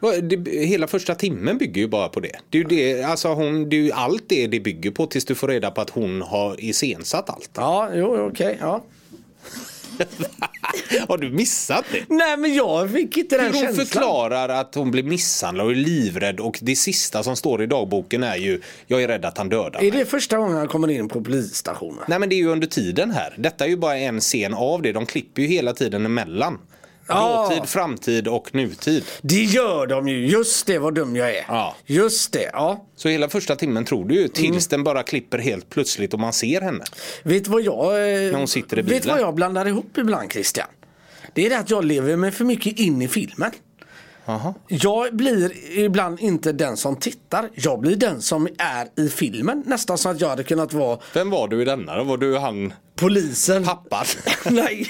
Speaker 1: Vad- Det, hela första timmen bygger ju bara på det. det, är ju det alltså hon, det är ju allt det det bygger på tills du får reda på att hon har iscensatt allt.
Speaker 2: Ja, jo, okej. ja.
Speaker 1: Och Har du missat det?
Speaker 2: Nej men jag fick inte den
Speaker 1: Hur hon
Speaker 2: känslan.
Speaker 1: förklarar att hon blir misshandlad och är livrädd och det sista som står i dagboken är ju Jag är rädd att han dödar
Speaker 2: Är
Speaker 1: mig.
Speaker 2: det första gången han kommer in på polisstationen?
Speaker 1: Nej men det är ju under tiden här. Detta är ju bara en scen av det. De klipper ju hela tiden emellan.
Speaker 2: Ja.
Speaker 1: Dåtid, framtid och nutid.
Speaker 2: Det gör de ju, just det vad dum jag är.
Speaker 1: Ja.
Speaker 2: Just det, ja.
Speaker 1: Så hela första timmen tror du
Speaker 2: Mm.
Speaker 1: ju tills den bara klipper helt plötsligt och man ser henne.
Speaker 2: Vet du vad jag, eh,
Speaker 1: hon sitter i
Speaker 2: vet
Speaker 1: bilen.
Speaker 2: vad jag blandar ihop ibland Christian? Det är det att jag lever mig för mycket in i filmen.
Speaker 1: Jaha.
Speaker 2: Jag blir ibland inte den som tittar, jag blir den som är i filmen. Nästan som att jag hade kunnat vara
Speaker 1: Vem var du i denna då? Var du han
Speaker 2: polisen.
Speaker 1: pappan?
Speaker 2: Nej.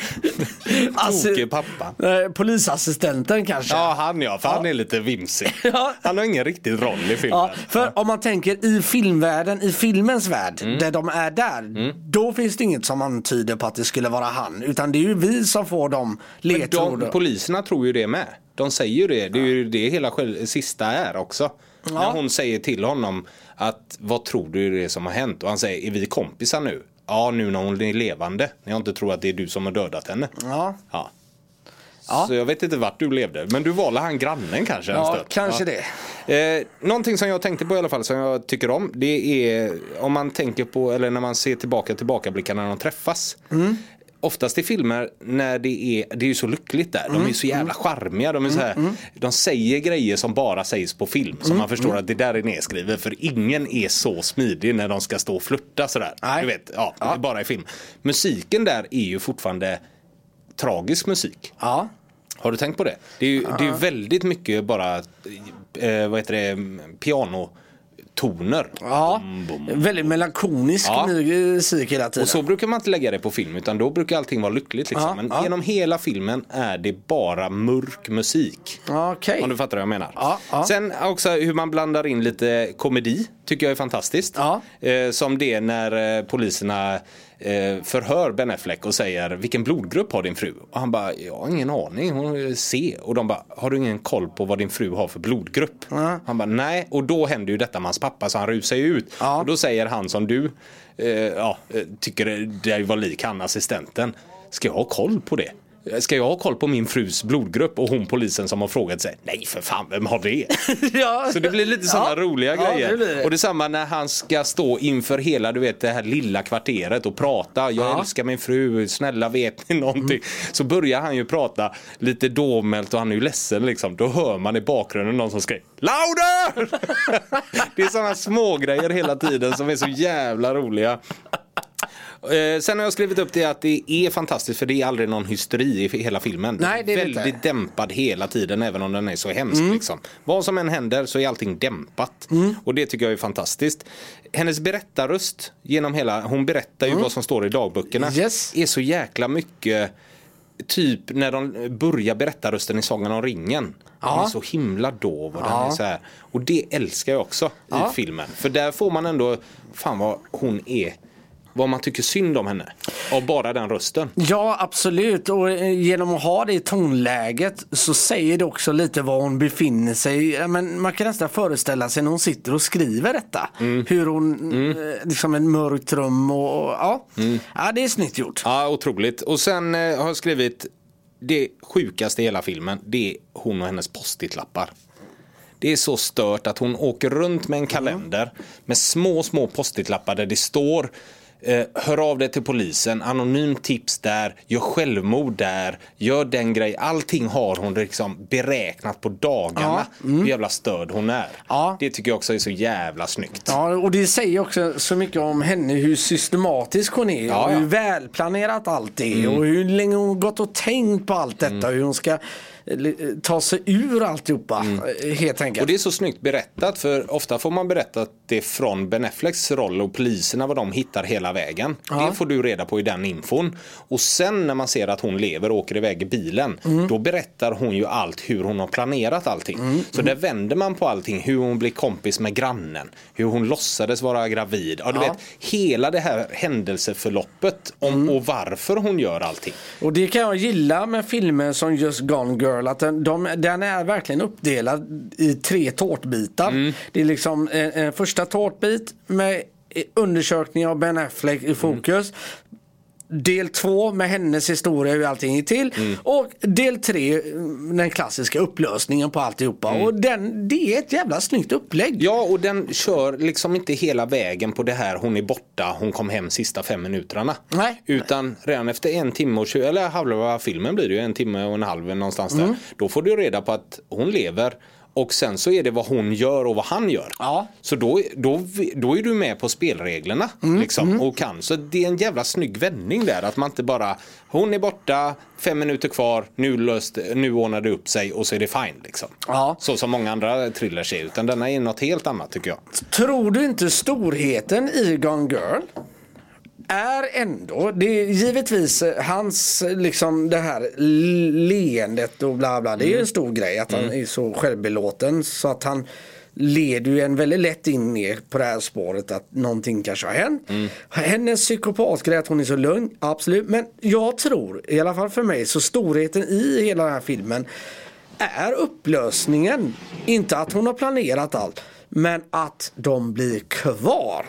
Speaker 2: Alltså-
Speaker 1: Tokig pappa.
Speaker 2: Nej, Polisassistenten kanske.
Speaker 1: Ja han ja, för han är lite vimsig.
Speaker 2: Ja.
Speaker 1: Han har ingen riktig roll i filmen.
Speaker 2: Ja, för om man tänker i filmvärlden, i filmens värld,
Speaker 1: Mm.
Speaker 2: där de är där. Då finns det inget som antyder på att det skulle vara han. Utan det är ju vi som får de
Speaker 1: De,
Speaker 2: ledtrådarna.
Speaker 1: poliserna tror ju det med. De säger ju det. Det är ju det hela själv, sista är också. När hon säger till honom att vad tror du är det som har hänt? Och han säger är vi kompisar nu? Ja nu när hon är levande. När jag inte tror att det är du som har dödat henne.
Speaker 2: Ja.
Speaker 1: Ja.
Speaker 2: Ja.
Speaker 1: Så jag vet inte vart du levde. Men du valde han grannen kanske? en
Speaker 2: Ja,
Speaker 1: stund.
Speaker 2: kanske
Speaker 1: Ja.
Speaker 2: det.
Speaker 1: Eh, någonting som jag tänkte på i alla fall som jag tycker om det är om man tänker på eller när man ser tillbaka tillbakablickarna när de träffas.
Speaker 2: Mm.
Speaker 1: Oftast i filmer när det är, det är ju så lyckligt där.
Speaker 2: Mm.
Speaker 1: De är så jävla charmiga. De, är så här, de säger grejer som bara sägs på film.
Speaker 2: Mm.
Speaker 1: Så man förstår att det där är nedskrivet. För ingen är så smidig när de ska stå och flirta sådär.
Speaker 2: Nej.
Speaker 1: Du vet, ja,
Speaker 2: Ja.
Speaker 1: bara i film. Musiken där är ju fortfarande tragisk musik.
Speaker 2: Ja.
Speaker 1: Har du tänkt på det? Det är ju det är väldigt mycket bara eh, vad heter det, pianotoner.
Speaker 2: Ja, väldigt melankonisk
Speaker 1: Mm, Ja.
Speaker 2: musik hela tiden.
Speaker 1: Och så brukar man inte lägga det på film utan då brukar allting vara lyckligt. Liksom.
Speaker 2: Ja,
Speaker 1: Men
Speaker 2: ja.
Speaker 1: genom hela filmen är det bara mörk musik.
Speaker 2: Ja, Okej.
Speaker 1: Om du fattar vad jag menar.
Speaker 2: Ja, ja.
Speaker 1: Sen också hur man blandar in lite komedi tycker jag är fantastiskt.
Speaker 2: Ja.
Speaker 1: Eh, som det när eh, poliserna eh, förhör Ben Affleck och säger vilken blodgrupp har din fru? Och han bara, jag har ingen aning, hon är C. Och de bara, har du ingen koll på vad din fru har för blodgrupp?
Speaker 2: Ja.
Speaker 1: Han bara, nej. Och då händer ju detta med hans pappa så han rusar ju ut.
Speaker 2: Ja.
Speaker 1: Och då säger han som du, eh, ja, eh, tycker det var lik han assistenten. Ska jag ha koll på det? Ska jag ha koll på min frus blodgrupp? Och hon polisen som har frågat sig, nej för fan, vem har det?
Speaker 2: ja.
Speaker 1: Så det blir lite sådana roliga
Speaker 2: Ja,
Speaker 1: grejer.
Speaker 2: det blir det.
Speaker 1: Och detsamma när han ska stå inför hela du vet, det här lilla kvarteret och prata. Jag
Speaker 2: Ja. Mm.
Speaker 1: älskar min fru, snälla vet ni någonting? Så börjar han ju prata lite dovmält och han är ju ledsen liksom. Då hör man i bakgrunden någon som skriker Louder! det är sådana små grejer hela tiden som är så jävla roliga. Eh, sen har jag skrivit upp det att det är fantastiskt för det är aldrig någon hysteri i hela filmen.
Speaker 2: Nej, det är det inte.
Speaker 1: Väldigt dämpad hela tiden även om den är så hemsk. Liksom. Vad som än händer så är allting dämpat. Och det tycker jag är fantastiskt. Hennes berättarröst genom hela, hon berättar ju vad som står i dagböckerna.
Speaker 2: Yes.
Speaker 1: Är så jäkla mycket Typ när de börjar berättarrösten i Sagan om ringen. Den är så himla dov och den är så här. Och det älskar jag också i filmen. För där får man ändå, fan vad hon är, vad man tycker synd om henne. Av bara den rösten.
Speaker 2: Ja, absolut. Och eh, genom att ha det i tonläget så säger det också lite var hon befinner sig. Ja, Men man kan nästan föreställa sig när hon sitter och skriver detta.
Speaker 1: Mm.
Speaker 2: Hur hon, eh, liksom ett mörkt rum och, och ja.
Speaker 1: Mm.
Speaker 2: ja, det är snyggt gjort.
Speaker 1: Ja, otroligt. Och sen eh, har jag skrivit det sjukaste i hela filmen. Det är hon och hennes postitlappar. Det är så stört att hon åker runt med en kalender med små, små postitlappar där det står eh, Hör av dig till polisen, anonymt tips där, gör självmord där, gör den grej. Allting har hon liksom beräknat på dagarna. Hur jävla störd hon är.
Speaker 2: mm. Ja.
Speaker 1: Det tycker jag också är så jävla snyggt.
Speaker 2: Ja, och det säger också så mycket om henne hur systematisk hon är
Speaker 1: Ja,
Speaker 2: och
Speaker 1: ja. Mm.
Speaker 2: hur välplanerat allt är och hur länge hon gått och tänkt på allt detta hur hon ska eh, ta sig ur alltihopa
Speaker 1: Mm.
Speaker 2: eh, helt enkelt.
Speaker 1: Och det är så snyggt berättat för ofta får man berättat det från Ben Afflecks roll och poliserna vad de hittar hela vägen. Det får du reda på i den infon. Och sen när man ser att hon lever och åker iväg i bilen då berättar hon ju allt hur hon har planerat allting. Så där vänder man på allting hur hon blir kompis med grannen, hur hon låtsades vara gravid. Ja, du
Speaker 2: Ja.
Speaker 1: vet, hela det här händelseförloppet om, och varför hon gör allting.
Speaker 2: Och det kan jag gilla med filmer som just Gone Girl. Att den, de, den är verkligen uppdelad i tre tårtbitar. Det är liksom en, en första tårtbit med eh, undersökning av Ben Affleck i fokus. Del två med hennes historia hur allting gick till. Och del tre, mm, den klassiska upplösningen på alltihopa. Och den, det är ett jävla snyggt upplägg.
Speaker 1: Ja, och den kör liksom inte hela vägen på det här hon är borta, hon kom hem sista fem minuterna.
Speaker 2: Nej.
Speaker 1: Utan redan efter en timme och tjugo, eller halva filmen blir det ju, en timme och en halv någonstans
Speaker 2: Mm.
Speaker 1: där. Då får du reda på att hon lever och sen så är det vad hon gör och vad han gör.
Speaker 2: Ja.
Speaker 1: Så då, då, då är du med på spelreglerna liksom, och kan. Så det är en jävla snygg vändning där. Att man inte bara, hon är borta, fem minuter kvar, nu, löst, nu ordnar det upp sig och så är det fine. Liksom.
Speaker 2: Ja.
Speaker 1: Så som många andra thrillers är. Utan denna är något helt annat tycker jag.
Speaker 2: Tror du inte storheten i Gone Girl är ändå, det är givetvis eh, hans liksom det här leendet och bla bla. Det är ju en stor grej att han är så självbelåten så att han leder ju en väldigt lätt in ner på det här spåret att någonting kanske har hänt. Hennes psykopatgrej att hon är så lugn, absolut. Men jag tror, i alla fall för mig, så storheten i hela den här filmen är upplösningen inte att hon har planerat allt men att de blir kvar.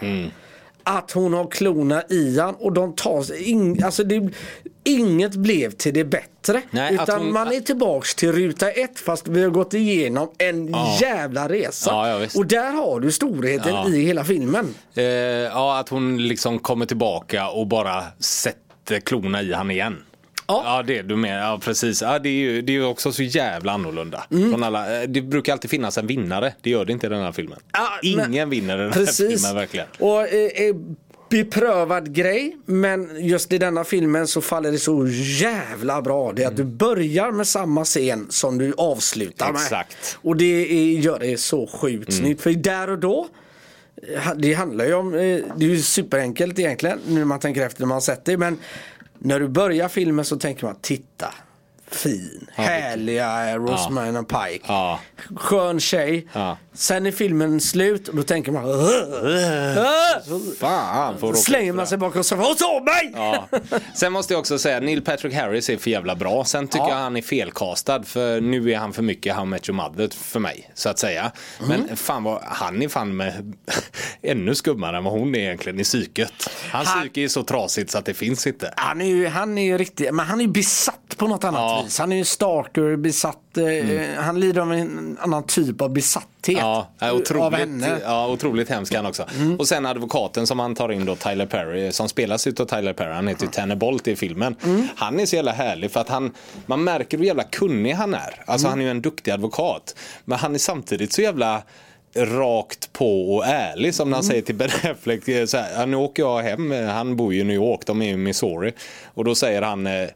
Speaker 2: Att hon har klonat Ian och de tar sig in, alltså det, Inget blev till det bättre.
Speaker 1: Nej, att
Speaker 2: utan
Speaker 1: hon-
Speaker 2: man är tillbaks till ruta ett fast vi har gått igenom en
Speaker 1: Ja.
Speaker 2: jävla resa.
Speaker 1: Ja, ja, visst.
Speaker 2: och där har du storheten
Speaker 1: Ja.
Speaker 2: i hela filmen.
Speaker 1: Eh, ja, att hon liksom kommer tillbaka och bara sätter klona i han igen.
Speaker 2: Ja.
Speaker 1: ja, det du menar. Ja, precis. Ja, det, är ju, det är ju också så jävla annorlunda.
Speaker 2: Mm.
Speaker 1: Från alla, eh, det brukar alltid finnas en vinnare. Det gör det inte i den här filmen.
Speaker 2: Ja,
Speaker 1: Ingen
Speaker 2: men-
Speaker 1: vinner i den här
Speaker 2: Precis.
Speaker 1: filmen verkligen.
Speaker 2: Och eh, eh, beprövad grej, men just i denna filmen så faller det så jävla bra. Det är
Speaker 1: Mm.
Speaker 2: att du börjar med samma scen som du avslutar med.
Speaker 1: Exakt. Mm.
Speaker 2: Och det är, gör det så sjukt snyggt. För där och då, eh, det handlar ju om, eh, det är ju superenkelt egentligen nu när man tänker efter när man har sett det. Men när du börjar filmen så tänker man, titta. Fin, härliga eh, Rosamund Pike.
Speaker 1: Ja.
Speaker 2: Skön tjej.
Speaker 1: Ja.
Speaker 2: Sen är filmen slut och då tänker man "Äh,
Speaker 1: Fan, får råka ut
Speaker 2: Slänger
Speaker 1: för
Speaker 2: man
Speaker 1: det.
Speaker 2: sig bakom soffan och tar mig!
Speaker 1: Ja. Sen måste jag också säga, Neil Patrick Harris är för jävla bra. Sen tycker
Speaker 2: Ja.
Speaker 1: jag han är felkastad för nu är han för mycket How I Met Your Mother för mig, så att säga.
Speaker 2: Mm.
Speaker 1: Men fan vad, han är fan med ännu skummare än vad hon är egentligen i psyket. Hans
Speaker 2: Han-
Speaker 1: psyke är så trasigt så att det finns inte.
Speaker 2: Han är ju, han är ju riktigt, men han är ju besatt på något annat
Speaker 1: Ja. Mm.
Speaker 2: vis. Han är ju stalker, besatt, eh, han lider av en annan typ av besatthet.
Speaker 1: Ja, är
Speaker 2: Av
Speaker 1: otroligt, eh,
Speaker 2: henne. Mm.
Speaker 1: ja, otroligt hemsk han också. Och sen advokaten som han tar in då, Tyler Perry, som spelas utav Tyler Perry, han heter ju Tanner Bolt i filmen.
Speaker 2: Mm.
Speaker 1: Han är så jävla härlig för att han, man märker hur jävla kunnig han är.
Speaker 2: Mm.
Speaker 1: Alltså han är ju en duktig advokat. Men han är samtidigt så jävla rakt på och ärlig som
Speaker 2: Mm.
Speaker 1: när han säger till Ben Affleck eh, så här, "Ja, nu åker jag hem, Eh, han bor ju i New York, de är i Missouri. Och då säger han, eh,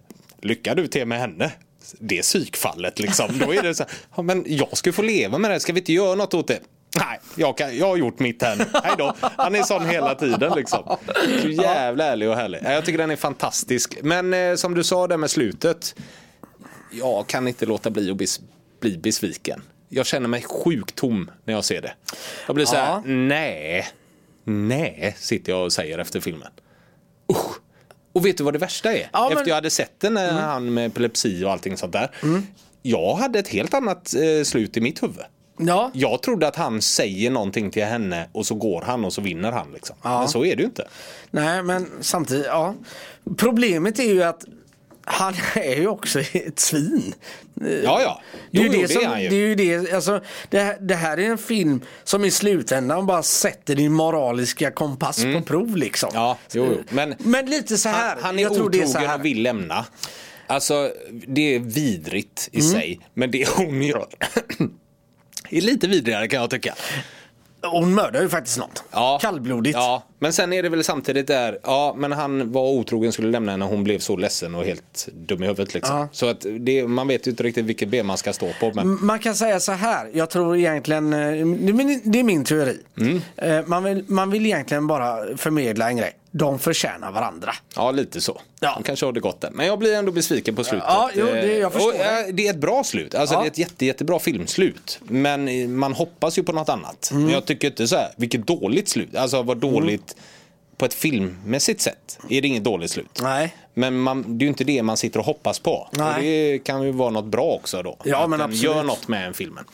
Speaker 1: lycka du till med henne det psykfallet liksom. Då är det så här, ja, men jag ska ju få leva med det här, ska vi inte göra något åt det? Nej, jag, kan, jag har gjort mitt här nu. Hej då. Han är sån hela tiden liksom. Så jävla ärlig och härlig. Nej, Jag tycker den är fantastisk. Men eh, som du sa där med slutet. Jag kan inte låta bli att bes, bli besviken. Jag känner mig sjukt tom när jag ser det. Jag blir så här,
Speaker 2: Ja.
Speaker 1: nej, nej, sitter jag och säger efter filmen. Usch. Och vet du vad det värsta är? efter
Speaker 2: Ja, men- Mm.
Speaker 1: jag hade sett den när han med epilepsi och allting sånt där. Jag hade ett helt annat eh, slut i mitt huvud.
Speaker 2: Ja.
Speaker 1: Jag trodde att han säger någonting till henne och så går han och så vinner han. Liksom. Men så är det ju inte.
Speaker 2: Nej, men samtidigt, ja. Problemet är ju att han är ju också ett svin. Eh,
Speaker 1: Ja, ja.
Speaker 2: Det
Speaker 1: Jo,
Speaker 2: är
Speaker 1: jo,
Speaker 2: ju det,
Speaker 1: det
Speaker 2: som,
Speaker 1: är han ju.
Speaker 2: det, är ju det, alltså, det, här, det här är en film som i slutändan bara sätter din moraliska kompass på prov liksom.
Speaker 1: Mm. Ja, jo, jo. Men-
Speaker 2: Men, lite så här.
Speaker 1: Han, han är
Speaker 2: jag tror det är så
Speaker 1: otrogen
Speaker 2: här.
Speaker 1: och vill lämna. Alltså, det är vidrigt i
Speaker 2: Mm.
Speaker 1: sig. Men det hon gör är lite vidrigare kan jag tycka.
Speaker 2: Hon mördar ju faktiskt något.
Speaker 1: Ja.
Speaker 2: Kallblodigt.
Speaker 1: Ja, men sen är det väl samtidigt där, ja men han var otrogen skulle lämna henne, hon blev så ledsen och helt dum i huvudet liksom.
Speaker 2: Ja. Mm.
Speaker 1: Så att det, man vet ju inte riktigt vilket ben man ska stå på. Men...
Speaker 2: Man kan säga så här, jag tror egentligen, eh, det är min- det är min teori.
Speaker 1: Mm.
Speaker 2: Eh, Man, vill, man vill egentligen bara förmedla en grej. De förtjänar varandå.
Speaker 1: Ja, lite så.
Speaker 2: Ja.
Speaker 1: De kanske har det gott där. Men jag blir ändå besviken på slutet.
Speaker 2: Ja, jo, det- jag
Speaker 1: Eh,
Speaker 2: förstår
Speaker 1: och, eh, det är ett bra slut. Alltså,
Speaker 2: Ja.
Speaker 1: Det är ett jätte, jättebra filmslut. Men eh, man hoppas ju på något annat.
Speaker 2: Mm.
Speaker 1: Men jag tycker inte så här, vilket dåligt slut. Alltså vad dåligt på ett filmmässigt sätt. Är det inget dåligt slut.
Speaker 2: Nej.
Speaker 1: Men man, det är ju inte det man sitter och hoppas på.
Speaker 2: Nej.
Speaker 1: Och det kan ju vara något bra också då.
Speaker 2: Ja,
Speaker 1: att
Speaker 2: men
Speaker 1: den
Speaker 2: absolut.
Speaker 1: gör något med en filmen.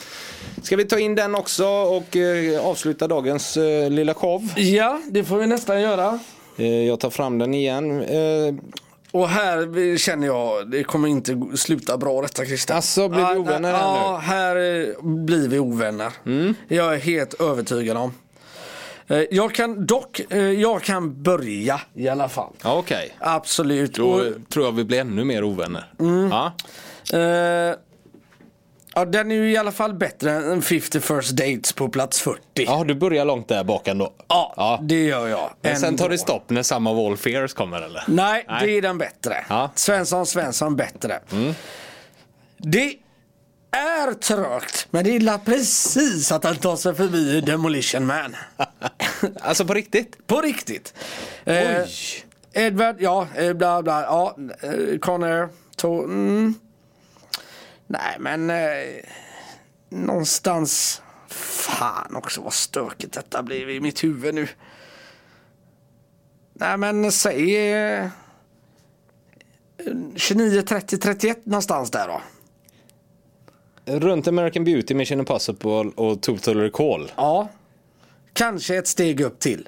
Speaker 1: Ska vi ta in den också och eh, avsluta dagens eh, lilla show?
Speaker 2: Ja, det får vi nästan göra.
Speaker 1: Eh, Jag tar fram den igen. Eh,
Speaker 2: Och här känner jag, det kommer inte sluta bra detta Christer.
Speaker 1: Alltså, blir vi
Speaker 2: Ja,
Speaker 1: ovänner här nu? Mm.
Speaker 2: Ja, här eh, blir vi ovänner. Jag är helt övertygad om. Eh, Jag kan dock, eh, jag kan börja i alla fall.
Speaker 1: Ja, Okej,
Speaker 2: Absolut.
Speaker 1: då
Speaker 2: Och,
Speaker 1: eh, tror jag vi blir ännu mer ovänner. Ja.
Speaker 2: eh, ja, den är ju i alla fall bättre än 50 first dates på plats 40.
Speaker 1: ja, du börjar långt där bak ändå.
Speaker 2: Ja,
Speaker 1: Ja.
Speaker 2: det gör jag.
Speaker 1: Men sen tar
Speaker 2: Ändå.
Speaker 1: det stopp när samma Wall Fears kommer eller?
Speaker 2: Nej,
Speaker 1: Nej.
Speaker 2: det är den bättre.
Speaker 1: Ja. Mm.
Speaker 2: Svensson, Svensson bättre. Det är trögt, men det är illa precis att han tar sig förbi Demolition Man.
Speaker 1: Alltså på riktigt?
Speaker 2: På riktigt. Eh, Edward, ja, eh, bla bla, ja, eh, Connor, to, mm. Nej men, eh, någonstans, fan också vad stökigt detta blir i mitt huvud nu. Nej men säg eh, 29, 30, 31 någonstans där då.
Speaker 1: Runt American Beauty, Mission Impossible och Total Recall.
Speaker 2: Ja, kanske ett steg upp till.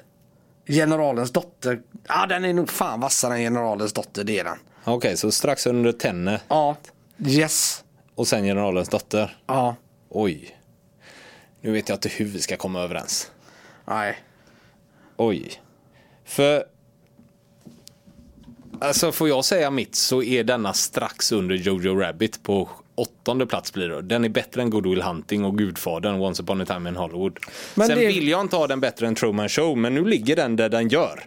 Speaker 2: Generalens dotter, ja den är nog fan vassare än generalens dotter, det är den.
Speaker 1: Okej, så strax under Tenne
Speaker 2: Ja. Yes.
Speaker 1: och sen Generalens dotter.
Speaker 2: Ja.
Speaker 1: Oj. Nu vet jag inte hur vi ska komma överens.
Speaker 2: Nej.
Speaker 1: Oj. För... Alltså får jag säga mitt så är denna strax under Jojo Rabbit på åttonde plats blir det. Den är bättre än Good Will Hunting och Gudfadern Once upon a time in Hollywood.
Speaker 2: Men
Speaker 1: Sen
Speaker 2: det-
Speaker 1: vill jag inte ha den bättre än Truman Show men nu ligger den där den gör.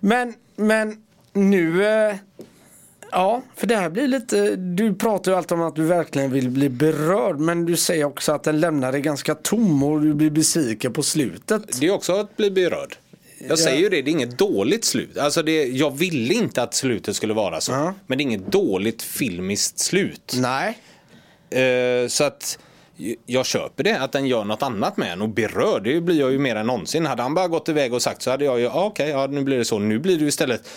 Speaker 2: Men, men nu... eh, Ja, för det här blir lite... Du pratar ju alltid om att du verkligen vill bli berörd men du säger också att den lämnar dig ganska tom och du blir besviken på slutet.
Speaker 1: Det är också att bli berörd. Jag säger ju det, det är inget dåligt slut. Alltså det, jag ville inte att slutet skulle vara så.
Speaker 2: Ja.
Speaker 1: Men det är inget dåligt filmiskt slut.
Speaker 2: Nej.
Speaker 1: Eh, så att j- jag köper det, att den gör något annat med en och berör, det blir jag ju mer än någonsin. Hade han bara gått iväg och sagt så hade jag ju, ah, okej, ja, nu blir det så. Nu blir det ju istället,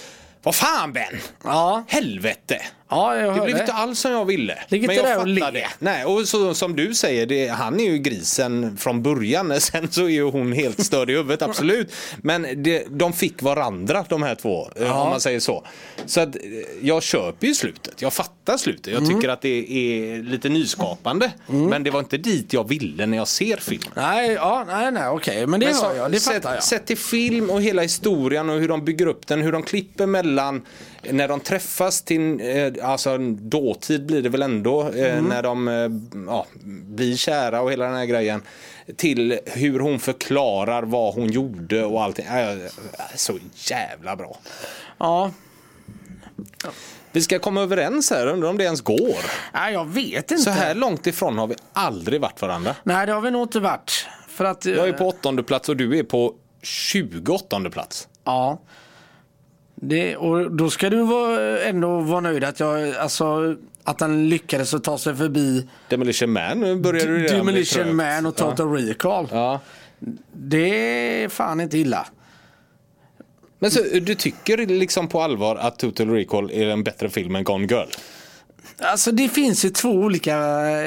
Speaker 1: vad fan Ben!
Speaker 2: Ja,
Speaker 1: Helvete!
Speaker 2: ja jag
Speaker 1: Det
Speaker 2: hör
Speaker 1: blev inte
Speaker 2: det.
Speaker 1: alls som jag ville.
Speaker 2: Ligg
Speaker 1: men
Speaker 2: inte
Speaker 1: jag
Speaker 2: där och le.
Speaker 1: fattar det. Nej, och så, som du säger, det, han är ju grisen från början. Sen så är ju hon helt störd i huvudet, absolut. Men det, de fick varandra de här två, eh, om man säger så. Så att eh, jag köper ju slutet, jag fattar slutet.
Speaker 2: Mm.
Speaker 1: Jag tycker att det är lite nyskapande. Men det var inte dit jag ville när jag ser filmen.
Speaker 2: Nej, ja, nej, nej, okej. Men det
Speaker 1: Men
Speaker 2: hör
Speaker 1: så-
Speaker 2: jag, det
Speaker 1: sett,
Speaker 2: fattar jag.
Speaker 1: sett till film och hela historien och hur de bygger upp den, hur de klipper mellan när de träffas till, eh, alltså en dåtid blir det väl ändå, eh,
Speaker 2: Mm.
Speaker 1: när de eh, ja, blir kära och hela den här grejen. Till hur hon förklarar vad hon gjorde och allting. Äh, så jävla bra.
Speaker 2: Ja.
Speaker 1: Vi ska komma överens här, undrar om det ens går.
Speaker 2: Nej, jag vet inte.
Speaker 1: Så här långt ifrån har vi aldrig varit varandra.
Speaker 2: Nej, det har vi nog inte varit. För att... eh,
Speaker 1: Jag är på åttonde plats och du är på 28 plats.
Speaker 2: Ja. Det, och då ska du vara, ändå vara nöjd att, jag, alltså, att han lyckades att ta sig förbi
Speaker 1: Demolition Man nu börjar du redan bli trött.
Speaker 2: Demolition Man och Total Recall.
Speaker 1: Ja.
Speaker 2: Det är fan inte illa.
Speaker 1: Men så, du tycker liksom på allvar att Total Recall är en bättre film än Gone Girl?
Speaker 2: Alltså det finns ju två olika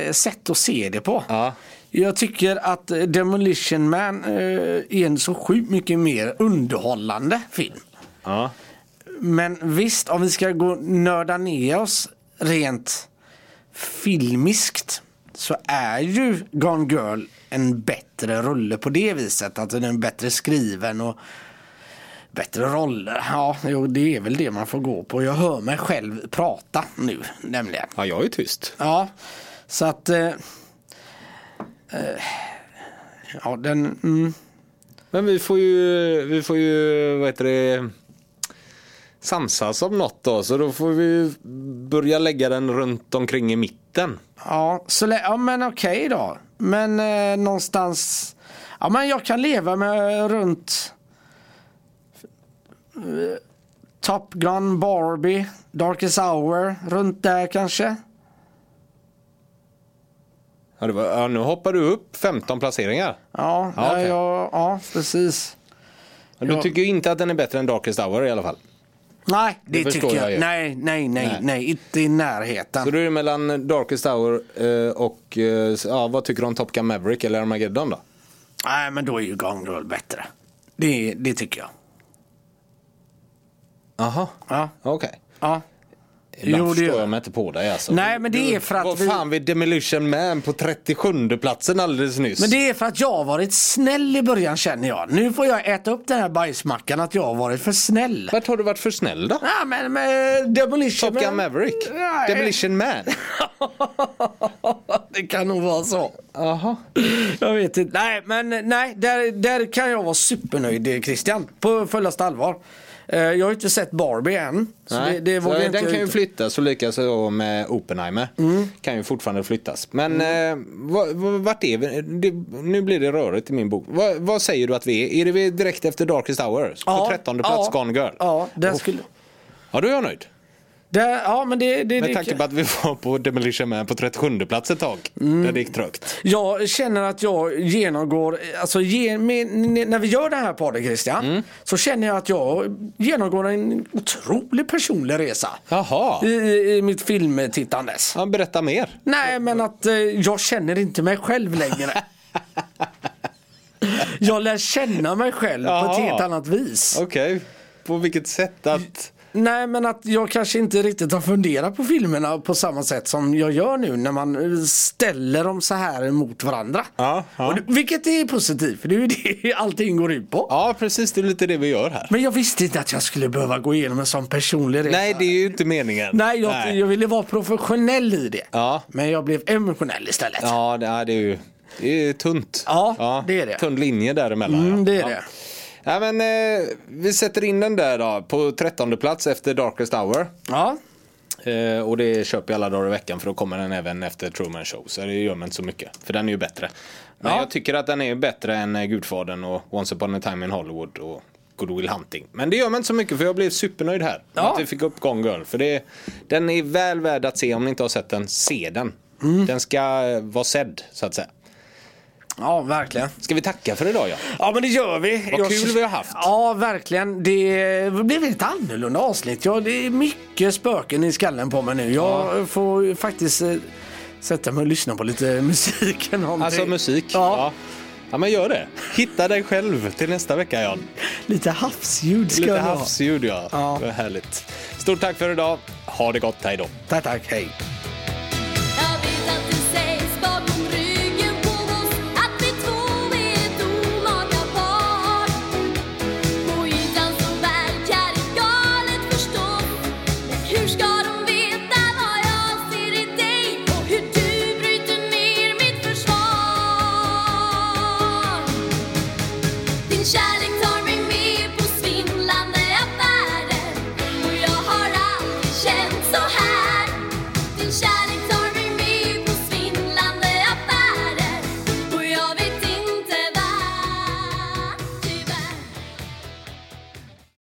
Speaker 2: eh, sätt att se det på.
Speaker 1: Ja.
Speaker 2: Jag tycker att eh, Demolition Man eh, är en så sjukt mycket mer underhållande film.
Speaker 1: Ja.
Speaker 2: Men visst, om vi ska gå nörda ner oss rent filmiskt så är ju Gone Girl en bättre rulle på det viset. Att den är bättre skriven och bättre roller. Ja, jo, det är väl det man får gå på. Jag hör mig själv prata nu nämligen.
Speaker 1: ja, jag är tyst.
Speaker 2: Ja, så att... Eh, eh, ja, den... Mm,
Speaker 1: Men vi får ju, vi får ju vad heter det, samsas om något då. Så då får vi börja lägga den runt omkring i mitten.
Speaker 2: Ja, så lä- ja men okej då. Men eh, någonstans... Ja, men jag kan leva med runt... eh, Top Gun, Barbie, Darkest Hour, runt där kanske.
Speaker 1: Ja, det var, ja, nu hoppar du upp 15 placeringar.
Speaker 2: Ja,
Speaker 1: Ja,
Speaker 2: ja,
Speaker 1: okej.
Speaker 2: ja, ja precis.
Speaker 1: Men du
Speaker 2: Ja.
Speaker 1: tycker ju inte att den är bättre än Darkest Hour i alla fall.
Speaker 2: Nej,
Speaker 1: Det
Speaker 2: det,
Speaker 1: förstår
Speaker 2: tycker
Speaker 1: jag
Speaker 2: jag.
Speaker 1: ju.
Speaker 2: nej, nej, nej,
Speaker 1: Nej.
Speaker 2: nej, inte i närheten.
Speaker 1: Så då är det mellan Darkest Hour eh, och, eh, ja, vad tycker du om Top Gun Maverick eller Armageddon då?
Speaker 2: Nej, men då är ju Gone Girl bättre. Det, det tycker jag.
Speaker 1: Aha.
Speaker 2: Ja.
Speaker 1: okej.
Speaker 2: ja.
Speaker 1: Ibland
Speaker 2: Jo, det
Speaker 1: förstår
Speaker 2: gör-
Speaker 1: jag mig inte på dig alltså.
Speaker 2: Nej, men det är för att
Speaker 1: Vad
Speaker 2: vi-
Speaker 1: fan vid Demolition Man på 37 platsen alldeles nyss.
Speaker 2: Men det är för att jag har varit snäll i början känner jag. Nu får jag äta upp den här bajsmackan att jag har varit för snäll.
Speaker 1: Vart har du varit för snäll då?
Speaker 2: Ja men med Demolition
Speaker 1: Top Gun
Speaker 2: Man-
Speaker 1: Maverick?
Speaker 2: Nej.
Speaker 1: Demolition Man?
Speaker 2: det kan nog vara så.
Speaker 1: Jaha.
Speaker 2: Jag vet inte. Nej, men nej, där, där kan jag vara supernöjd eh, Christian. På fullaste allvar. Eh, Jag har ju inte sett Barbie än. Så
Speaker 1: Nej,
Speaker 2: det, det
Speaker 1: så
Speaker 2: vågar jag
Speaker 1: den
Speaker 2: inte
Speaker 1: kan ju
Speaker 2: ut- Mm.
Speaker 1: flyttas och likaså med Oppenheimer. Kan ju fortfarande flyttas. Men eh, vad- vad- vart är vi? Det, nu blir det rörigt i min bok. Vad- vad säger du att vi är? Är det vi direkt efter Darkest Hour?
Speaker 2: Ja,
Speaker 1: på 13 plats
Speaker 2: ja,
Speaker 1: Gone Girl?
Speaker 2: Ja, där
Speaker 1: Uff.
Speaker 2: skulle...
Speaker 1: ja, då är jag nöjd.
Speaker 2: Där, ja, men det, det,
Speaker 1: Med
Speaker 2: det
Speaker 1: tanke på att vi var på Demolition Man på 37 plats ett tag.
Speaker 2: Mm.
Speaker 1: Där det gick trögt.
Speaker 2: Jag känner att jag genomgår, alltså ge, med, när vi gör den här podden Christian,
Speaker 1: Mm.
Speaker 2: så känner jag att jag genomgår en otrolig personlig resa.
Speaker 1: Jaha,
Speaker 2: I, I mitt filmtittandes.
Speaker 1: ja, berätta mer.
Speaker 2: Nej men att eh, jag känner inte mig själv längre. jag lär känna mig själv på
Speaker 1: Jaha.
Speaker 2: ett helt annat vis.
Speaker 1: Okej, på vilket sätt att...
Speaker 2: Nej men att jag kanske inte riktigt har funderat på filmerna på samma sätt som jag gör nu när man eh, ställer dem så här mot varandra.
Speaker 1: Ja, ja.
Speaker 2: Och det, vilket är positivt för det är ju det allting går ut på.
Speaker 1: Ja, precis. Det är lite det vi gör här.
Speaker 2: Men jag visste inte att jag skulle behöva gå igenom en sån personlig resa.
Speaker 1: Nej, det är ju inte meningen.
Speaker 2: Nej, jag, jag ville vara professionell i det.
Speaker 1: Ja.
Speaker 2: Men jag blev emotionell istället.
Speaker 1: Ja, det ja, det är ju det är ju tunt.
Speaker 2: Ja, det är det.
Speaker 1: Tunn linje däremellan.
Speaker 2: Mm, det är
Speaker 1: ja.
Speaker 2: det.
Speaker 1: Ja, men, eh, vi sätter in den där då, på trettonde plats efter Darkest Hour.
Speaker 2: Ja.
Speaker 1: Eh, och det köper jag alla dagar i veckan för då kommer den även efter Truman Show. Så det gör mig inte så mycket, för den är ju bättre. Men
Speaker 2: Ja.
Speaker 1: jag tycker att den är ju bättre än eh, Gudfadern och Once upon a time in Hollywood och Good Will Hunting. Men det gör mig inte så mycket för jag blev supernöjd här. med
Speaker 2: Ja.
Speaker 1: Att vi fick upp Gone Girl. För det, den är väl värd att se om ni inte har sett den. Se den.
Speaker 2: Mm.
Speaker 1: Den ska eh, vara sedd så att säga.
Speaker 2: ja, verkligen.
Speaker 1: Ska vi tacka för idag ja?
Speaker 2: Ja men det gör vi.
Speaker 1: Vad kul vi har haft.
Speaker 2: Ja verkligen. Det blev ett annorlunda avsnitt. Ja, det är mycket spöken i skallen på mig nu. Jag får ju faktiskt eh, sätta mig och lyssna på lite musik. eller någonting.
Speaker 1: Alltså musik.
Speaker 2: Ja,
Speaker 1: ja. Ja, men gör det. Hitta dig själv till nästa vecka Jan.
Speaker 2: Lite havsljud ska
Speaker 1: Lite
Speaker 2: det vara.
Speaker 1: havsljud ja.
Speaker 2: Ja.
Speaker 1: Vad härligt. Stort tack för idag. Ha det gott. Hej då.
Speaker 2: Tack, tack. Hej.
Speaker 3: Jag vet att det sägs bakom ryggen på oss att vi två är ett olaga par. På ytan så verkar det galet förstås. Men hur ska de veta vad jag ser i dig och hur du bryter ner mitt försvar? Din kärlek